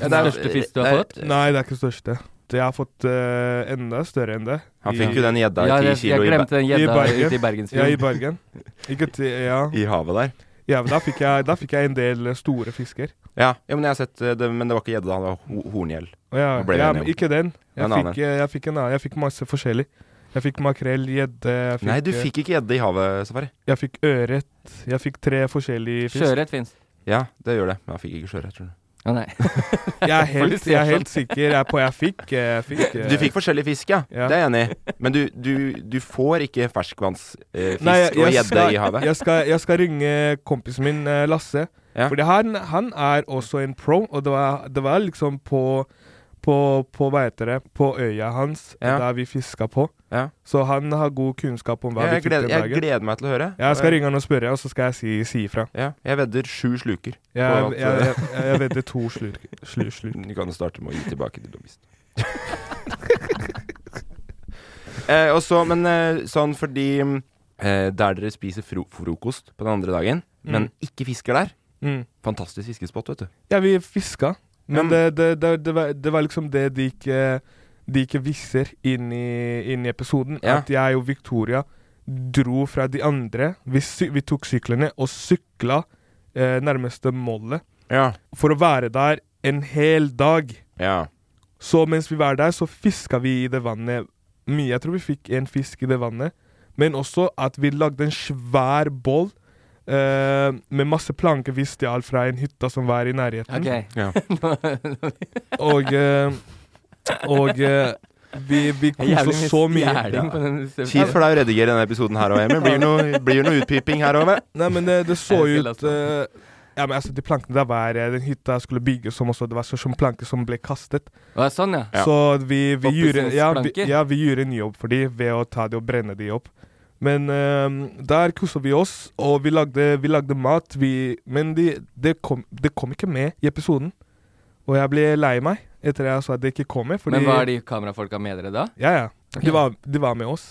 S3: Ja,
S5: Den
S3: det er-
S5: største fisk du har
S3: det er-
S5: fått?
S4: Nei, det er ikke det største. Det jeg har fått eh, enda større enn det.
S3: Han
S4: I-
S3: fikk jo den gjedda i
S5: Ja,
S3: ti
S5: jeg, jeg
S3: kilo i,
S5: glemte den gjedda
S4: Bergen.
S5: ute i
S4: Ja, i
S5: Bergensfjorden.
S4: Bergen. Ikke til Ja,
S3: ba- i havet der.
S4: ja men da fikk, jeg, da fikk jeg en del store fisker.
S3: Ja, ja men jeg har sett eh, det, men det var ikke gjedde, det var ho horngjell.
S4: Å Ja,
S3: Nå ble det
S4: ja
S3: en
S4: men
S3: igjen.
S4: ikke den. Jeg
S3: En annen
S4: fikk, eh, jeg, fikk en annen. Jeg fikk masse forskjellig. Jeg fikk makrell, gjedde jeg fikk- eh,
S3: Nei, du fikk ikke gjedde i havet, Safari.
S4: Jeg fikk ørret. Jeg fikk tre forskjellige fisk.
S5: Sjøørret fins.
S3: Ja, det gjør det, men jeg fikk ikke sjøørret, tror du.
S5: Å nei.
S4: Jeg er
S5: For du
S4: helt,
S5: ser
S4: jeg er
S5: sånn.
S4: helt sikker jeg er på jeg fikk. eh, Jeg fikk eh,
S3: Du fikk forskjellig fisk, ja.
S4: Ja.
S3: Det er jeg enig i. Men du, du, du får ikke ferskvannsfisk eh,
S4: Nei, jeg-
S3: fisk og
S4: jeg
S3: gjedde
S4: skal-
S3: i havet.
S4: Jeg skal, jeg skal ringe kompisen min, eh, Lasse.
S3: Ja.
S4: Fordi han, han er også en pro, og det var, det var liksom på på, på, hva heter det, på øya hans
S3: Ja.
S4: der vi fiska på.
S3: Ja.
S4: Så han har god kunnskap om hva
S3: Jeg,
S4: vi fikk
S3: gleder,
S4: den
S3: jeg
S4: dagen.
S3: gleder meg til å høre.
S4: Jeg skal ringe han og spørre, og så skal jeg si, si ifra.
S3: Ja, jeg vedder sju sluker.
S4: Jeg,
S3: på at, eh,
S4: jeg, jeg, jeg vedder to slurk. Slur, slur.
S3: Du kan starte med å gi tilbake til lobbisten. eh, og så, men eh, sånn fordi mm, eh, Der dere spiser fro frokost på den andre dagen, men ikke fisker der
S4: Mm.
S3: Fantastisk fiskespott, vet du.
S4: Ja, vi fiska. Men
S3: Men-
S4: det, det, det, det, var, det var liksom det de ikke, de ikke viser inn i, inn i episoden.
S3: Ja.
S4: At jeg og Victoria dro fra de andre. Vi, sy vi tok syklene og sykla eh, nærmeste målet
S3: Ja.
S4: for å være der en hel dag.
S3: ja.
S4: Så mens vi var der, så fiska vi i det vannet mye. Jeg tror vi fikk en fisk i det vannet. Men også at vi lagde en svær boll eh, med masse planker vi stjal fra en hytte som var i nærheten.
S5: Ok.
S3: Ja.
S4: Og, eh, og eh, vi, vi koste oss så mye.
S5: stjeling på den
S3: Kjipt for deg å redigere denne episoden her òg, Emil. Blir det noe, blir det noe utpiping her òg, vel?
S4: Nei, men det, det så
S5: Jeg altså. skal
S4: ut eh, Ja, men altså, de plankene der var eh, Den hytta jeg skulle bygge som også, det var så- som planker som ble kastet.
S5: Å, sånn, ja.
S4: Så vi, vi, gjorde, ja, vi,
S5: Oppussingsplanker.
S4: ja, vi gjorde en jobb for de ved å ta de og brenne de opp. Men eh, der kosa vi oss, og vi lagde, vi lagde mat. Vi, men de, det, kom, det kom ikke med i episoden. Og jeg ble lei meg etter jeg sa at det ikke kom med. Fordi,
S5: Men var de kamerafolka med dere da?
S4: Ja, ja.
S5: Ok.
S4: De, var, de var med oss.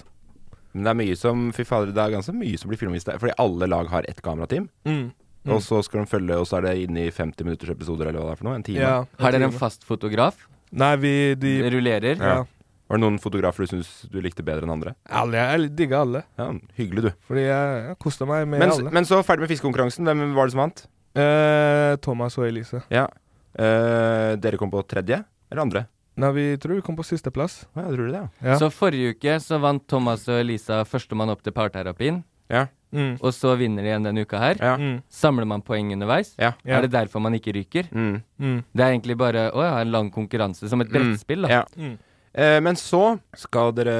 S3: Men det er mye som Fy fader, det er ganske mye som blir filmvist der. Fordi alle lag har ett kamerateam.
S4: Mm.
S3: Og så skal de følge, og så er det inne i 50 minutters episoder eller hva det er for noe. En time.
S4: Ja,
S5: Har dere
S4: jeg
S5: en
S4: tror det.
S5: fast fotograf?
S4: Nei, vi de,
S5: Rullerer?
S4: ja.
S3: Var det noen fotografer du syns du likte bedre enn andre?
S4: Alle, Jeg digga alle.
S3: Ja, hyggelig, du.
S4: Fordi jeg, jeg kosta meg med
S3: Men,
S4: alle.
S3: men så ferdig med fiskekonkurransen. Hvem var det som vant?
S4: Eh, Thomas og Elise.
S3: Ja. Eh, dere kom på tredje? Eller andre?
S4: Nei, vi tror vi kom på sisteplass.
S3: Å ja, tror du det, ja.
S4: Ja.
S5: Så forrige uke så vant Thomas og Elisa førstemann opp til parterapien.
S3: Ja.
S4: Mm.
S5: og så vinner de igjen denne uka her.
S3: Ja.
S4: Mm.
S5: Samler man poeng underveis?
S3: Ja.
S4: Ja.
S5: Er det derfor man ikke ryker?
S3: Mm.
S4: Mm.
S5: Det er egentlig bare å ja, en lang konkurranse, som et brettspill, da.
S3: Ja.
S4: Mm.
S3: Eh, men så skal dere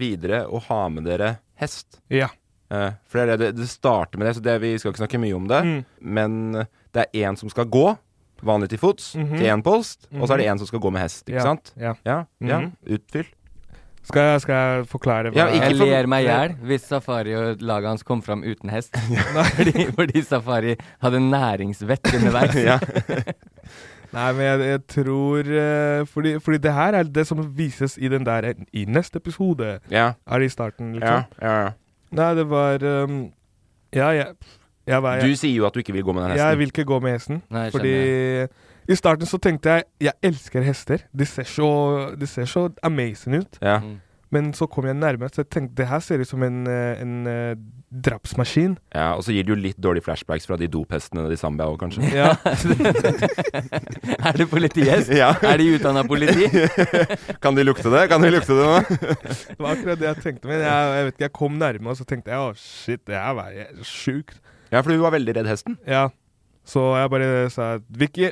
S3: videre og ha med dere hest.
S4: Ja.
S3: Eh, for det, er det, det starter med det, så det, vi skal ikke snakke mye om det.
S4: Mm.
S3: Men det er én som skal gå, vanlig til fots,
S4: Mhm.
S3: til én post. Og så er det
S4: Mhm.
S3: én som skal gå med hest,
S4: Ja.
S3: ikke sant?
S4: Ja.
S3: Ja, ja.
S4: Mhm.
S3: Utfyll.
S4: Skal, jeg, skal jeg forklare
S3: Ja, ikke
S5: Jeg
S3: for-
S5: ler meg i hjel hvis Safari og laget hans kom fram uten hest. fordi, fordi Safari hadde næringsvett underveis.
S4: Nei, men jeg, jeg tror eh, fordi, fordi det her er det som vises i den der i neste episode.
S3: Ja,
S4: Er det i starten,
S3: ja,
S4: liksom?
S3: ja, ja.
S4: Nei, det var ehm, Ja, jeg jeg, var,
S3: Du
S4: jeg,
S3: sier jo at du ikke vil gå med den
S4: jeg,
S3: hesten.
S4: vil ikke gå med hesten.
S5: Nei, jeg
S4: fordi i starten så tenkte jeg jeg elsker hester. De ser så, de ser så amazing ut.
S3: Ja.
S5: Mm.
S4: Men så kom jeg nærmere, så jeg tenkte det her ser ut som en, eh, en eh, drapsmaskin.
S3: Ja, og så gir det jo litt dårlige flashbacks fra de dophestene i Zambia òg, kanskje.
S4: Ja.
S5: Er det politihest?
S3: Ja.
S5: Er de utdanna politi?
S3: Kan de lukte det? Kan de lukte det nå?
S4: Det var akkurat det jeg tenkte. Men jeg, jeg vet ikke, jeg kom nærme, og så tenkte jeg å shit, det her var jæ- sjukt.
S3: Ja, for du var veldig redd hesten.
S4: Ja. Så jeg bare sa Vicky,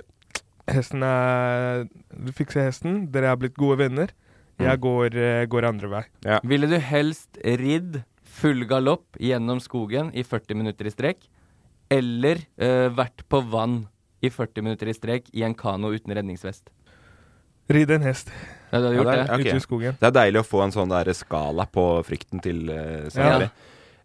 S4: hesten er Du fikser hesten. Dere er blitt gode venner. Jeg går, eh, går andre vei.
S5: Ville du helst ridd full galopp gjennom skogen i 40 minutter i strekk, eller eh, vært på vann i 40 minutter i strekk i en kano uten redningsvest?
S4: Ridde en hest
S5: Ja, du hadde gjort
S3: det
S5: det?
S3: er- Ok.
S4: ute i skogen.
S3: Det er deilig å få en sånn der skala på frykten til uh,
S5: Ja.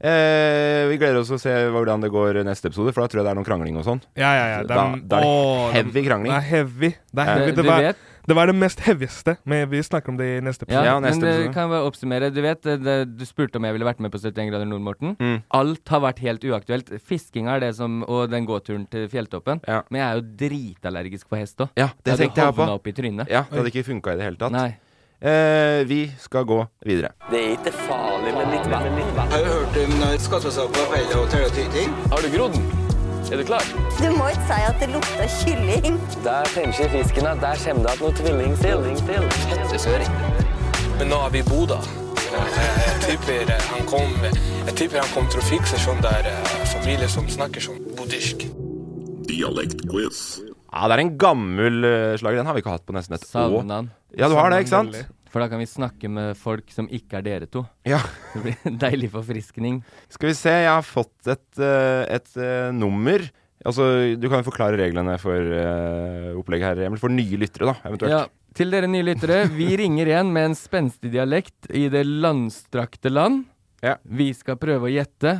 S3: Eh, vi gleder oss til å se hvordan det går i neste episode, for da tror jeg det er noe krangling og sånn.
S4: Ja, ja, ja. Det er,
S3: Da- da er det
S4: Åh,
S3: heavy krangling.
S4: Det er heavy. Det, er
S3: Ja.
S4: heavy.
S5: Du, Eh,
S4: det,
S5: du
S4: var,
S5: vet,
S4: det var det mest heavyeste, men vi snakker om det i neste
S5: ja,
S4: episode.
S3: Ja,
S5: men
S3: neste
S5: det
S3: episode.
S5: kan jeg bare oppsummere. Du vet, det, det, du spurte om jeg ville vært med på 71 grader nord, Morten.
S3: Mm.
S5: Alt har vært helt uaktuelt. Fiskinga er det som Og den gåturen til fjelltoppen.
S3: Ja.
S5: Men jeg er jo dritallergisk på hest òg.
S3: Ja, det tenkte jeg på.
S5: Havna opp i trynet.
S3: Ja, Det hadde ikke funka i det hele tatt.
S5: Nei.
S3: Eh, vi skal gå videre.
S1: Har du hørt om eh, skattesak på feil og terrortyting?
S5: Har du grodd? Er du klar?
S6: Du må ikke si at det lukter kylling.
S5: Der tenker fisken at der kommer det at noe tvilling til.
S1: Men nå er vi i Bodø. Jeg tipper han kom Jeg tipper han kom til å fikse sånn der familie som snakker sånn bodisk.
S3: Ja, Det er en gammel eh, slager. Den har vi ikke hatt på nesten et år.
S5: Savna han.
S3: Ja, du har det, ikke sant?
S4: Veldig.
S5: For da kan vi snakke med folk som ikke er dere to.
S3: Ja.
S5: Det blir en deilig forfriskning.
S3: Skal vi se, jeg har fått et, eh, et eh, nummer. Altså, Du kan jo forklare reglene for eh, opplegget her, Emil. For nye lyttere, da, eventuelt.
S5: Ja, til dere nye lyttere, vi ringer igjen med en spenstig dialekt i det landstrakte land.
S3: Ja.
S5: Vi skal prøve å gjette.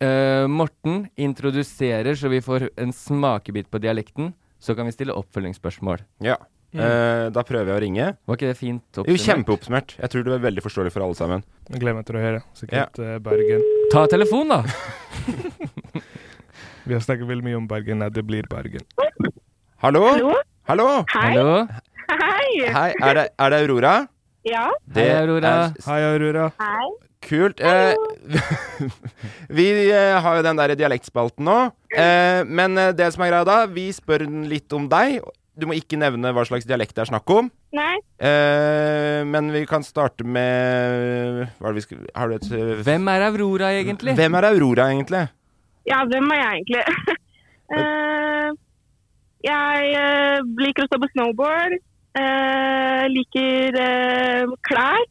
S5: Eh, Morten introduserer, så vi får en smakebit på dialekten. Så kan vi stille oppfølgingsspørsmål.
S3: Ja. Eh, da prøver jeg å ringe.
S5: Var ikke det fint?
S3: Jo,
S5: oppsummert?
S3: kjempeoppsummert. Jeg tror det var veldig forståelig for alle sammen.
S4: Jeg gleder meg til å høre. Sikkert eh, Bergen.
S5: Ta telefon, da!
S4: Vi har snakket veldig mye om Bergen. Nei, det blir Bergen.
S3: Hallo? Hallo?
S5: Hallo.
S3: Hei, er det, er det Aurora? Ja. Det
S5: Hei, Aurora.
S3: er s-
S4: Hei, Aurora.
S3: kult. Eh, vi eh, har jo den der dialektspalten nå. Eh, men eh, det som er greia da, vi spør den litt om deg. Du må ikke nevne hva slags dialekt det er snakk om.
S6: Nei.
S3: Eh, men vi kan starte med Hva er det vi skal Har du et eh,
S5: Hvem er Aurora, egentlig?
S3: Hvem er Aurora, egentlig?
S6: Ja, hvem er jeg egentlig? Eh, jeg eh, liker å stå på snowboard. eh, liker eh, klær.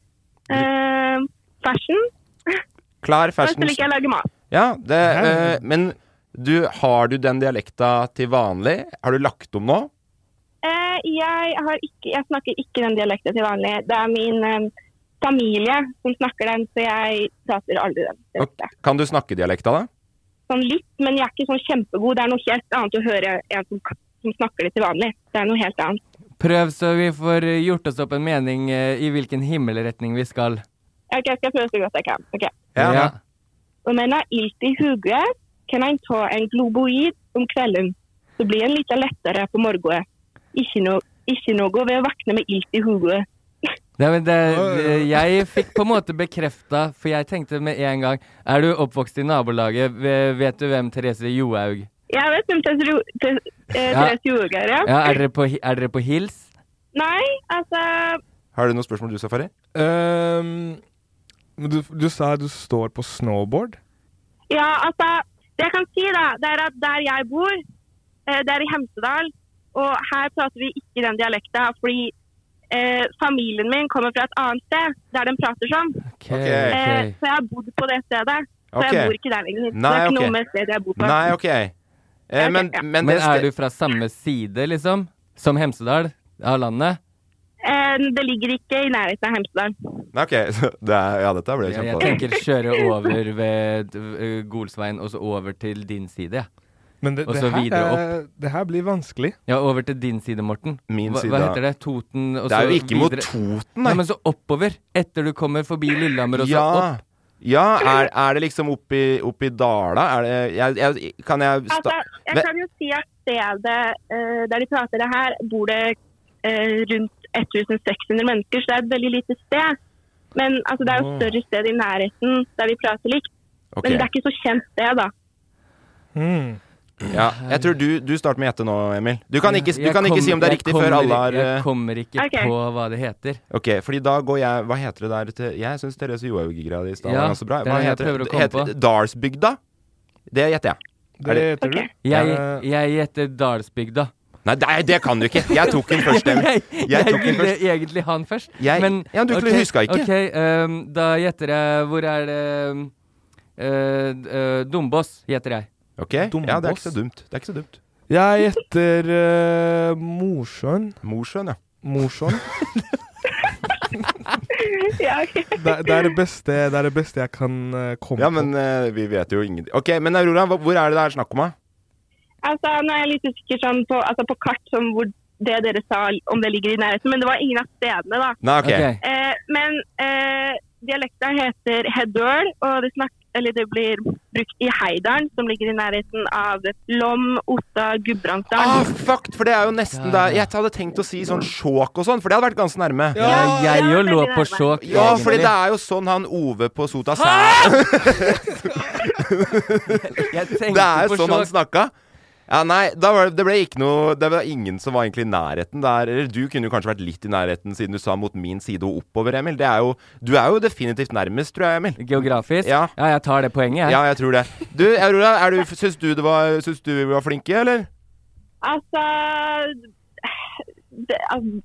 S6: eh, fashion.
S3: Klar
S6: Og så
S3: fashion
S6: liker jeg å lage mat.
S3: Ja, det, eh, men du, har du den dialekta til vanlig? Har du lagt om nå?
S6: Eh, jeg, har ikke, jeg snakker ikke den dialekten til vanlig. Det er min eh, familie som snakker den, så jeg prater aldri den. dialekten.
S3: Og Kan du snakke dialekta, da?
S6: Sånn litt, men jeg er ikke sånn kjempegod. Det er noe helt annet å høre en som, som snakker det til vanlig. Det er noe helt annet.
S5: Prøv så vi får gjort oss opp en mening eh, i hvilken himmelretning vi skal.
S6: Ok, jeg skal prøve så godt jeg kan. Ok.
S3: Ja.
S6: Om en har ilt i hodet, kan en ta en globoid om kvelden. Så blir en litt lettere på morgenen. Ikke, no, ikke noe ved å våkne med ilt i hodet.
S5: Nei, men det,
S4: Oi,
S5: det,
S4: oi.
S5: jeg fikk på en måte bekrefta, for jeg tenkte med en gang Er du oppvokst i nabolaget? Ve- Vet du hvem Therese Johaug
S6: Jeg vet hvem Therese Ro- Ther-
S5: Ja.
S6: eh, Therese Johaug er, ja.
S5: ja, er, dere på, hi- er dere på hils?
S6: Nei, altså
S3: Har du noen spørsmål du, Safari?
S4: Ehm, men du, du sa du står på snowboard?
S6: Ja, altså, det jeg kan si da, det er at der jeg bor, eh, det er i Hemsedal, og her prater vi ikke den dialekta, fordi eh, familien min kommer fra et annet sted, der de prater sånn.
S3: Ok.
S6: Eh, så jeg har bodd på det stedet, så
S3: Ok.
S6: jeg bor ikke der lenger.
S3: Nei,
S6: det er ikke
S3: ok.
S6: noe med stedet jeg bor på.
S3: Nei, OK. Eh, men,
S6: ja.
S3: men,
S5: Men
S3: det
S5: er
S3: ste-
S5: du fra samme side, liksom? Som Hemsedal av landet?
S6: Eh, det ligger ikke i nærheten av Hemsedal.
S3: Nei, ok, så det er, Ja, dette ble
S5: Jeg, jeg
S3: kjempe...
S5: tenker kjøre over ved øh, Golsveien og så over til din side, jeg.
S4: Men det,
S5: Og
S4: det,
S5: så
S4: her,
S5: videre
S4: er- det her blir vanskelig.
S5: Ja, over til din side, Morten.
S3: Min
S5: Hva,
S3: side,
S5: hva
S3: ja.
S5: heter det? Toten? Og
S3: Det er
S5: så
S3: jo ikke mot
S5: videre- Nei,
S3: Toten, nei.
S5: men så oppover. Etter du kommer forbi Lillehammer og så
S3: Ja.
S5: opp.
S3: Ja, er, er det liksom oppi, oppi Dala? Er det jeg, jeg, Kan jeg
S6: Altså,
S3: sta...
S6: jeg
S3: Ve-
S6: kan jo si at stedet eh, der de prater det her, bor det eh, rundt 1600 mennesker, så det er et veldig lite sted. Men altså, det er jo et større sted i nærheten der de prater likt.
S3: Ok.
S6: Men det er ikke så kjent sted, da.
S3: Ja, jeg tror du, du starter med å gjette nå, Emil. Du kan ikke, du
S5: Jeg
S3: kan ikke si om det er
S5: jeg
S3: riktig før
S5: kommer-
S3: alle har
S5: Jeg
S3: eh,
S5: kommer ikke
S6: Ok.
S5: på hva det heter.
S3: Ok, fordi da går jeg Hva heter det der til Jeg syns Therese Johaug-greia di i stad
S5: Ja,
S3: var ganske bra.
S5: det
S3: Hva
S5: er det jeg
S3: heter
S5: prøver å
S3: det?
S5: komme
S3: Heter det Dalsbygda? Det gjetter jeg. Er
S4: Det
S3: det-
S4: heter du.
S5: Jeg,
S4: Eh,
S5: jeg gjetter Dalsbygda.
S3: Nei, det, det kan du ikke! Jeg tok den først, Emil.
S5: Jeg,
S3: Jeg tok den
S5: ville
S3: først.
S5: egentlig ha den først.
S3: Jeg- Ja, du
S5: ok,
S3: huska ikke.
S5: Ok, ehm, da gjetter jeg Hvor er det ehm, eh, d- eh, Dombås, gjetter jeg.
S3: Ok, ja, det er ikke så dumt. Det er ikke så dumt.
S4: Jeg gjetter eh, Mosjøen.
S3: Mosjøen, ja.
S4: Mosjøen.
S6: Ja, ok.
S4: Det, det, er det, beste, det er det beste jeg kan eh, komme
S3: Ja, men eh, vi vet jo ingenting. Ok, men Aurora, hva- hvor er det det er snakk om, da?
S6: Altså, nå er jeg litt usikker sånn på, altså, på kart som hvor det dere sa, om det ligger i nærheten, men det var ingen av stedene, da.
S3: Nei, ok.
S5: Ok.
S6: Eh, men eh, dialekta heter heddøl, og det, snak, eller det blir brukt i Heidalen, som ligger i nærheten av Lom, Otta,
S3: Ah,
S6: Gudbrandsdalen.
S3: fuck! For det er jo nesten der Jeg hadde tenkt å si sånn sjåk og sånn, for det hadde vært ganske nærme.
S5: Ja, jeg
S6: ja,
S5: jo lå
S6: veldig
S5: på
S6: nærme.
S5: sjokk.
S3: Ja,
S5: egentlig.
S3: fordi det er jo sånn han Ove på Sota sa
S5: Jeg
S3: Det
S5: tenkte
S3: er
S5: på
S3: jo sånn han
S5: sjokk.
S3: snakka. Ja, nei, da var det, det ble ikke noe Det var ingen som var egentlig i nærheten der. Eller du kunne jo kanskje vært litt i nærheten, siden du sa mot min side og oppover, Emil. Det er jo, du er jo definitivt nærmest, tror jeg, Emil.
S5: Geografisk?
S3: Ja.
S5: jeg tar det poenget, jeg.
S3: Ja, jeg tror det. Du, Aurora, er du, syns du det var, syns du vi var flinke, eller?
S6: Altså, det, altså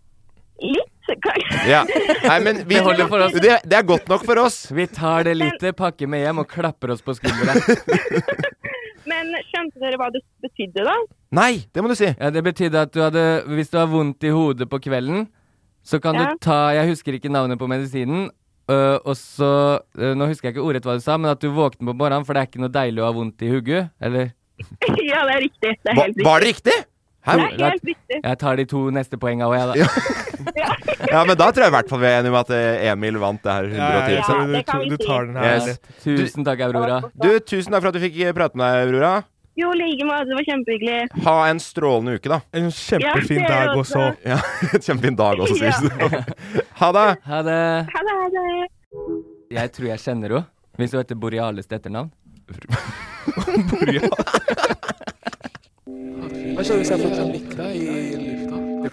S6: Litt, kanskje.
S3: Ja. Nei, men vi,
S5: Det holder for oss.
S3: Det, det er godt nok for oss.
S5: Vi tar det lite, pakker med hjem og klapper oss på skuldra.
S6: Men skjønte dere hva det betydde, da?
S3: Nei, det må du si.
S5: Ja, det betydde at du hadde Hvis du har vondt i hodet på kvelden, så kan
S6: Ja.
S5: du ta Jeg husker ikke navnet på medisinen. øh, og så øh, Nå husker jeg ikke ordrett hva du sa, men at du våkner på morgenen, for det er ikke noe deilig å ha vondt i hugget. Eller
S6: ja, det er riktig. Det er
S3: Va,
S6: helt riktig.
S3: var det riktig? Hæ?
S6: Det er helt riktig.
S5: Jeg tar de to neste poenga òg, jeg, da.
S3: Ja, men da tror jeg i hvert fall vi er enige om at eh, Emil vant det her
S4: Ja, ja,
S3: 110.
S4: jeg tror
S6: Ja,
S4: du,
S6: det kan vi
S4: du
S6: si.
S4: tar den her.
S3: Yes.
S4: lett.
S5: Tusen takk, Aurora.
S3: Du, tusen takk for at du fikk eh, prate med deg, Aurora.
S6: Jo, i like måte. Det var kjempehyggelig.
S3: Ha en strålende uke, da.
S4: En kjempefin
S6: Ja, det er
S4: dag
S6: også.
S4: også.
S3: Ja, Kjempefin dag også, sier du. Ha det!
S5: Ha det.
S6: Ha det, ha det.
S5: Jeg tror jeg kjenner henne. Hvis hun heter Boreales til etternavn.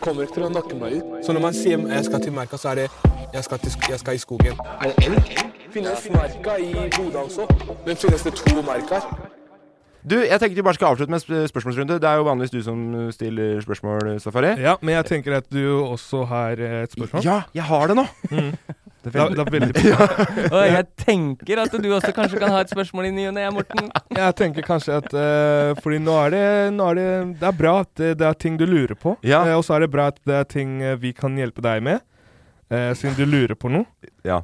S1: Så når man sier jeg skal til merka, så er det jeg skal, i skogen. Er det elg? Finnes merka i Bodø også, men finnes det to merker?
S3: Du, jeg tenker vi bare skal avslutte med en sp- spørsmålsrunde. Det er jo vanligvis du som eh, stiller spørsmål, Safari.
S4: Ja, men jeg tenker at du også har eh, et spørsmål.
S3: Ja, jeg har det nå!
S4: Det er, det er veldig bra.
S5: Og jeg tenker at du også kanskje kan ha et spørsmål i ny og ne, jeg, Morten.
S4: Jeg tenker kanskje at eh, Fordi nå er, det, nå er det Det er bra at det, det er ting du lurer på.
S3: Ja.
S4: Eh, og så er det bra at det er ting eh, vi kan hjelpe deg med, eh, siden du lurer på noe.
S3: Ja.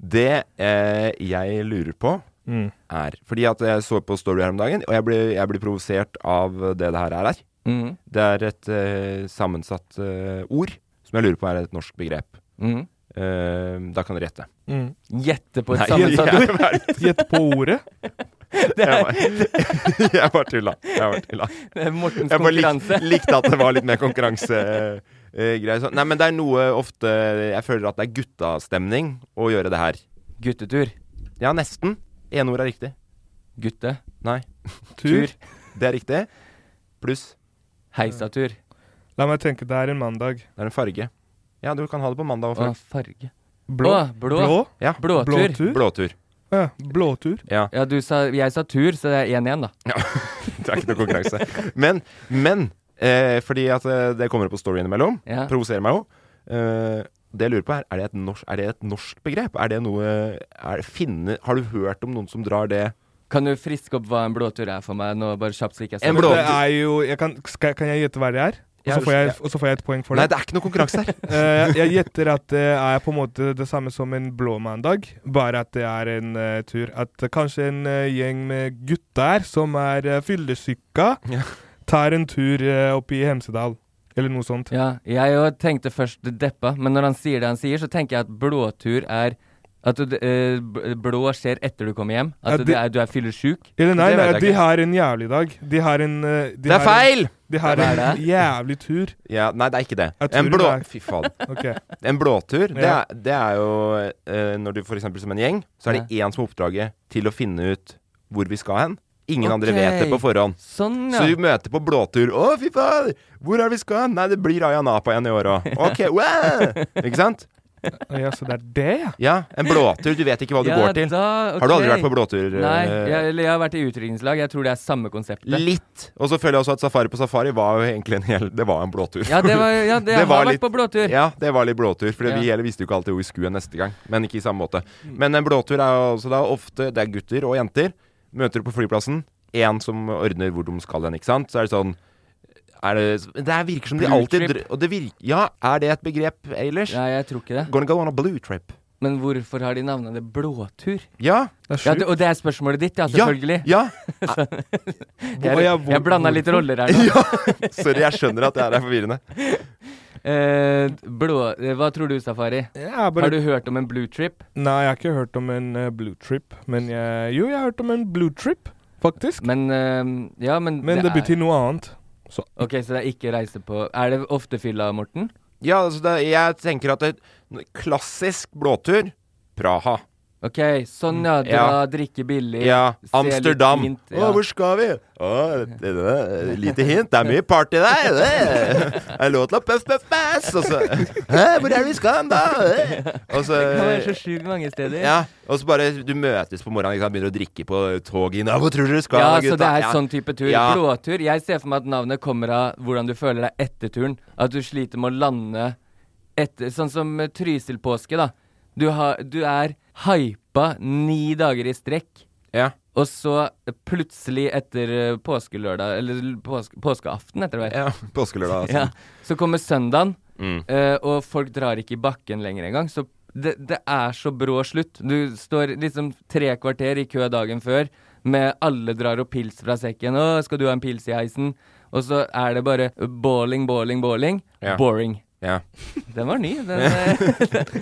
S3: Det eh, jeg lurer på,
S4: Mm.
S3: er Fordi at jeg så på Story her om dagen, og jeg blir, jeg blir provosert av det det her er her.
S5: Mm.
S3: Det er et eh, sammensatt eh, ord som jeg lurer på er et norsk begrep.
S5: Mm.
S3: Eh, da kan dere gjette.
S4: Mm.
S5: Gjette på et
S3: jeg,
S5: sammensatt
S3: jeg, bare-
S4: Gjett på ordet.
S3: jeg, bare- jeg bare tulla. Jeg bare tulla.
S5: Mortens
S3: Jeg bare
S5: konkurranse.
S3: likte, likte at det var litt mer konkurransegreier. sånn. Nei, men det er noe ofte Jeg føler at det er guttastemning å gjøre det her.
S5: Guttetur.
S3: Ja, nesten. Ene ord er riktig.
S5: Gutte.
S3: Nei.
S4: Tur.
S3: Det er riktig. Pluss.
S5: Heisatur.
S4: La meg tenke, det er en mandag.
S3: Det er en farge. Ja, du kan ha det på mandag. og
S5: Å,
S3: fredag.
S5: farge.
S4: Blå.
S5: Å, blå.
S4: Blå.
S3: Ja.
S5: Blåtur.
S4: Blåtur.
S3: Blåtur.
S4: Ja, blåtur.
S3: Ja.
S5: Ja, du sa, jeg sa tur, så det er 1-1, da.
S3: Det er ikke noe konkurranse. Men, men eh, fordi at eh, det kommer opp på story innimellom,
S5: Ja.
S3: provoserer meg jo. Eh, det jeg lurer på er, er det, et norsk, er det et norsk begrep? Er det noe er det finne, Har du hørt om noen som drar det
S5: Kan du friske opp hva en blåtur er for meg nå, bare kjapt slik jeg
S3: En
S5: det?
S3: blå-
S4: Det er jo jeg kan, skal, kan jeg gjette hva det er? Og
S3: Ja,
S4: så
S3: du-
S4: får, jeg-
S3: ja.
S4: og så får jeg et poeng for
S3: Nei,
S4: det.
S3: det er ikke noe konkurranse her!
S4: Eh, jeg gjetter at det er på en måte det samme som en blå mandag, bare at det er en eh, tur. At det kanskje en eh, gjeng med gutter som er uh, fyllesyka,
S3: Ja.
S4: tar en tur eh, opp i Hemsedal. Eller noe sånt.
S5: Ja, jeg jo tenkte først deppa, men når han sier det han sier, så tenker jeg at blåtur er at du, eh, b- blå skjer etter du kommer hjem. At
S4: Ja, det-
S5: det er, du er fyllesyk.
S4: Eller nei, nei
S3: Det vet jeg
S4: de
S3: ikke.
S4: har en jævlig dag. De har en eh, de
S3: Det
S4: har
S3: er feil!
S4: En, de har
S5: Hva er
S4: en
S5: det?
S4: jævlig tur.
S3: Ja, nei, det er ikke det.
S4: Jeg tror
S3: En
S4: det
S3: blå...
S4: er-
S3: Fy faen.
S4: Ok.
S3: En blåtur, det
S4: Ja.
S3: er, det er jo eh, Når du for eksempel som en gjeng, så er det én som har oppdraget til å finne ut hvor vi skal hen. Ingen andre vet det
S5: Ok.
S3: på forhånd.
S5: Sånn,
S3: Så
S5: ja.
S3: vi møter på blåtur. Å, fy faen! Hvor er vi skal hen? Nei, det blir Ayia Napa igjen i år òg. Ok, wow! Ikke sant?
S4: Ja, så det er det, ja.
S3: Ja, en blåtur. Du vet ikke hva du
S5: ja,
S3: går til.
S5: Da,
S3: Har du aldri
S5: ok.
S3: vært på blåtur?
S5: Nei,
S3: eh,
S5: jeg, eller jeg har vært i utdrikningslag. Jeg tror det er samme konseptet.
S3: Litt. Og så føler jeg også at Safari på Safari var jo egentlig en hel Det var en blåtur.
S5: Ja, det var, ja, det, jeg
S3: var
S5: har vært
S3: litt-
S5: på blåtur.
S3: Ja, det var litt blåtur, for vi
S5: Ja.
S3: heller visste jo ikke alltid hvor vi skulle neste gang. Men ikke i samme måte. Men en blåtur er jo også da ofte Det er gutter og jenter. Møter du på flyplassen, én som ordner hvor de skal hen, ikke sant. Så er det sånn er det, det er- virker som de
S5: Blue
S3: alltid
S5: trip.
S3: dr- og det virker, Ja, er det et begrep ellers?
S5: Nei, jeg tror ikke det.
S3: Gonna go on a blue trip.
S5: Men hvorfor har de navnet det blåtur?
S3: Ja.
S4: Det er
S5: Ja,
S4: sjukt.
S5: det, og det er spørsmålet ditt, ja, selvfølgelig.
S3: Ja.
S4: Hvor- ja,
S5: Jeg,
S4: hvor-
S5: jeg blanda litt roller her
S3: ja.
S5: nå.
S3: ja. Sorry, jeg skjønner at det her er forvirrende.
S5: Eh, blå, eh, hva tror du, Safari?
S4: Ja, bare,
S5: Har du hørt om en blue trip?
S4: Nei, jeg har ikke hørt om en eh, blue trip. Men jeg, jo, jeg har hørt om en blue trip, faktisk.
S5: Men eh, Ja, men
S4: Men det
S5: er-
S4: betyr noe annet.
S5: Ok, så det er ikke reise på Er det ofte fylla, Morten?
S3: Ja, altså det, jeg tenker at et klassisk blåtur Praha.
S5: Ok, sånn ja. Dra,
S3: Ja.
S5: drikke billig.
S3: Ja,
S5: se litt
S3: Amsterdam.
S5: fint,
S3: Å, hvor skal vi? Å, det, det, det, lite hint. Det er mye party der. Det er lov til å puff, puff, pass. Og så Hæ, hvor er det vi skal hen, da? Og så
S5: Det kan være så sjukt mange steder.
S3: ja, og så bare du møtes på morgenen, ikke sant? begynner å drikke på toget inn. Ja, Hvor tror du du skal,
S5: Ja, så
S3: gutta?
S5: det er
S3: Ja.
S5: sånn type tur.
S3: Ja.
S5: Blåtur. Jeg ser for meg at navnet kommer av hvordan du føler deg etter turen. At du sliter med å lande etter Sånn som eh, Trysil-påske, da. Du, har, du er hypa ni dager i strekk,
S3: Ja.
S5: og så eh, plutselig etter eh, påskelørdag Eller l- påske, påskeaften, etter hvert.
S3: ja. Påskelørdag, altså.
S5: Ja. sånn. Så kommer søndagen,
S3: Mm.
S5: eh, og folk drar ikke i bakken lenger engang. Så det, det er så brå slutt. Du står liksom tre kvarter i kø dagen før, med alle drar og pils fra sekken. 'Å, skal du ha en pils i heisen?' Og så er det bare bowling, bowling, bowling.
S3: Ja.
S5: Boring.
S3: Ja.
S5: Den var ny. Den, eh,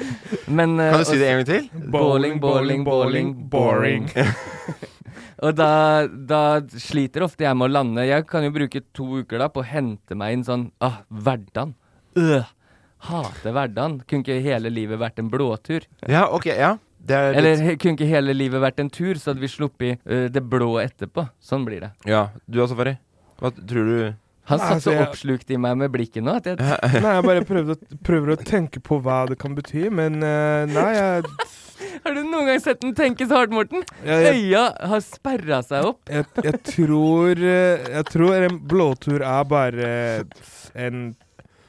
S5: Men eh,
S3: Kan du
S5: og-
S3: si det en gang til?
S5: Bowling, bowling, bowling, boring. Og da, da sliter ofte jeg med å lande. Jeg kan jo bruke to uker da på å hente meg inn sånn Ah, hverdagen. Øh. Hater hverdagen. Kunne ikke hele livet vært en blåtur?
S3: Ja, ok. Ja. Det er litt-
S5: Eller he- kunne ikke hele livet vært en tur, så hadde vi sluppet øh, det blå etterpå. Sånn blir det.
S3: Ja, du også, Farri. Hva tror du
S5: Han
S4: Nei,
S5: satt så
S4: altså, jeg-
S5: oppslukt i meg med blikket nå at jeg
S4: Nei, jeg bare prøvde, å- prøver å tenke på hva det kan bety, men eh, nei, jeg,
S5: Har du noen gang sett den tenke så hardt, Morten?
S4: jeg, jeg,
S5: Øya har sperra seg opp.
S4: jeg, jeg tror eh, Jeg tror en blåtur er bare en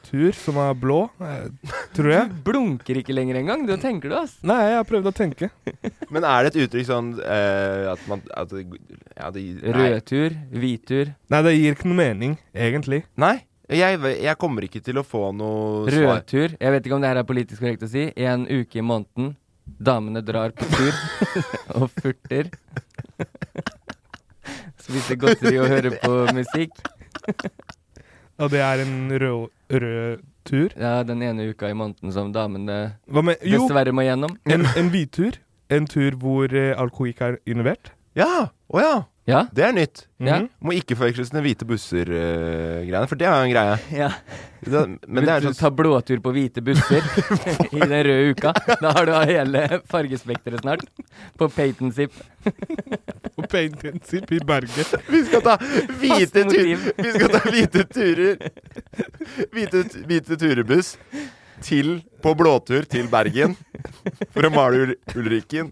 S4: tur som er blå, eh, tror jeg.
S5: Blunker ikke lenger engang. Du tenker du, ass.
S4: Nei, jeg har prøvd å tenke.
S3: Men er det et uttrykk sånn eh, at man at det, ja, det, nei.
S5: Rødtur, hvitur.
S4: Nei, det gir ikke noe mening, egentlig.
S3: nei. Jeg, jeg kommer ikke til å få noe svar.
S5: Rødtur. Jeg vet ikke om det her er politisk korrekt å si. En uke i måneden. Damene drar på tur og furter. Spiser godteri og hører på musikk.
S4: Og det er en rød, rød tur.
S5: Ja, den ene uka i måneden som damene
S4: Hva med Jo,
S5: dessverre må gjennom.
S4: en, en hvitur. En tur hvor eh, alkohol ikke er involvert.
S3: Ja! Å ja!
S5: Ja?
S3: Det er nytt.
S5: Ja.
S4: Mhm.
S3: Må ikke forveksles med hvite busser-greiene, for det er jo en greie.
S5: ja.
S3: Det, men det er
S5: Vil du
S3: sånn
S5: ta blåtur på hvite busser i den røde uka? Da har du hele fargespekteret snart. På Payton Zip.
S4: Og paintinsipp i Bergen.
S3: Vi skal ta hvite,
S5: Fast
S3: tur,
S5: motiv.
S3: vi skal ta hvite turer hvite, t- hvite turebuss til, på blåtur til Bergen for å male Ul- Ulrikken.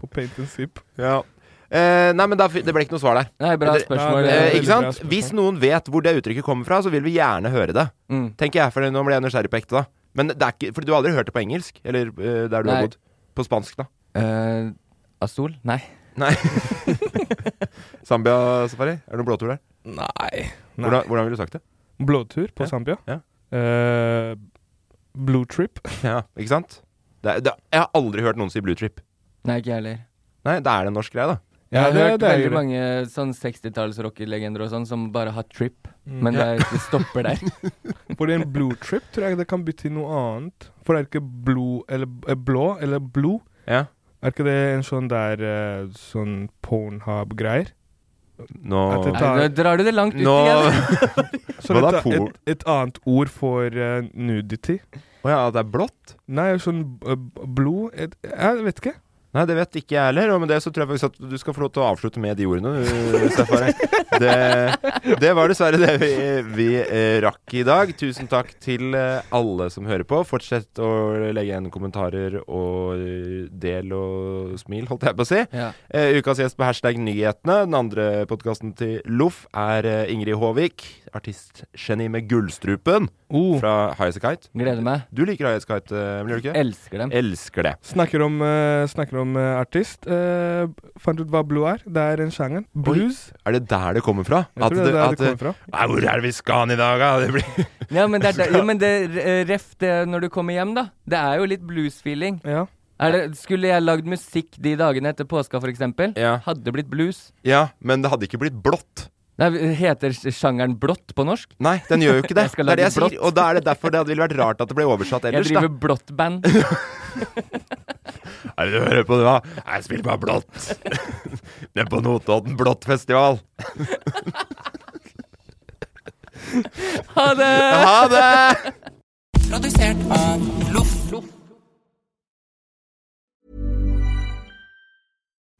S4: på paint and sip.
S3: Ja. Eh, nei, men da, fi- det ble ikke noe svar der.
S5: Nei, bra
S3: Det-
S5: spørsmål.
S4: Ja,
S3: Eh,
S4: veldig
S3: ikke
S4: bra
S3: sant?
S4: spørsmål.
S3: Hvis noen vet hvor det uttrykket kommer fra, så vil vi gjerne høre det.
S5: Mm.
S3: Tenker jeg, for nå ble jeg nysgjerrig på ekte, da. Men det er ikke, for du har aldri hørt det på engelsk? Eller eh, der du har
S5: Nei.
S3: bodd? På spansk, da?
S5: Eh, Azul? Nei.
S3: Nei. Zambia-safari? Er det noen blåtur der?
S7: Nei.
S4: Nei.
S3: Hvordan, hvordan ville du sagt det?
S4: Blåtur på
S3: Ja,
S4: Zambia.
S3: ja.
S4: Eh, blue trip.
S3: Ja, ikke sant? Det er, det, jeg har aldri hørt noen si blue trip.
S5: Nei, ikke jeg heller.
S3: Nei, da er det en norsk greie, da.
S5: Jeg har
S4: Ja, det-
S5: hørt
S4: det er jo
S5: veldig
S4: det.
S5: mange sånn 60-talls rockelegender og sånn som bare har trip,
S4: Mm.
S5: men det, er, det stopper der.
S4: For en blue trip tror jeg det kan bety noe annet. For er ikke blod eller eh, blå eller blod
S3: Ja.
S4: Er ikke det en sånn der eh, sånn pornhub-greier?
S3: Nå
S4: At det
S5: Nei,
S4: tar-
S5: nå drar du det langt ut
S3: Nå
S5: igjen.
S4: Så
S3: Hva da,
S4: et,
S3: porn?
S4: et, et annet ord for eh, nudity?
S3: Å ja, at det er blått?
S4: Nei, sånn eh, blod et, Jeg vet ikke.
S3: Nei, det vet ikke jeg heller. Og med det så tror jeg faktisk at du skal få lov til å avslutte med de ordene. du, Safari. Det, det var dessverre det vi, vi eh, rakk i dag. Tusen takk til eh, alle som hører på. Fortsett å legge igjen kommentarer og eh, del og smil, holdt jeg på å si.
S5: Ja.
S3: Eh, ukas gjest på hashtag nyhetene. Den andre podkasten til Loff er eh, Ingrid Håvik, artistgeni med Gullstrupen
S4: Oh,
S3: fra Highasakite.
S5: Gleder meg.
S3: Du liker Highasakite, eh, Emil, gjør du ikke?
S5: Elsker dem.
S3: Elsker det.
S4: snakker om, eh, snakker om eh, artist. Eh, fant ut hva blod er. Det er en sjanger. Blues.
S3: Er det der det kommer fra?
S4: Jeg tror det er der det kommer fra.
S3: Nei, hvor er det vi skal hen i dag, da? Det blir
S5: Ja, men det, er, der- jo, men det eh, ref det når du kommer hjem, da. Det er jo litt blues-feeling.
S4: Ja.
S5: Er det, skulle jeg lagd musikk de dagene etter påska, for eksempel,
S3: Ja.
S5: hadde det blitt blues.
S3: Ja, men det hadde ikke blitt blått.
S5: Nei, heter sjangeren blått på norsk?
S3: Nei, den gjør jo ikke det.
S5: Jeg skal
S3: det er det jeg
S5: lage
S3: sier.
S5: blått.
S3: Og da er det derfor det hadde ville vært rart at det ble oversatt
S5: Jeg
S3: ellers,
S5: driver blått-band.
S3: da. Er det du hører på, du, da? Jeg spiller bare blått. Det er på Notodden blåttfestival.
S5: Ha det!
S3: Ha det!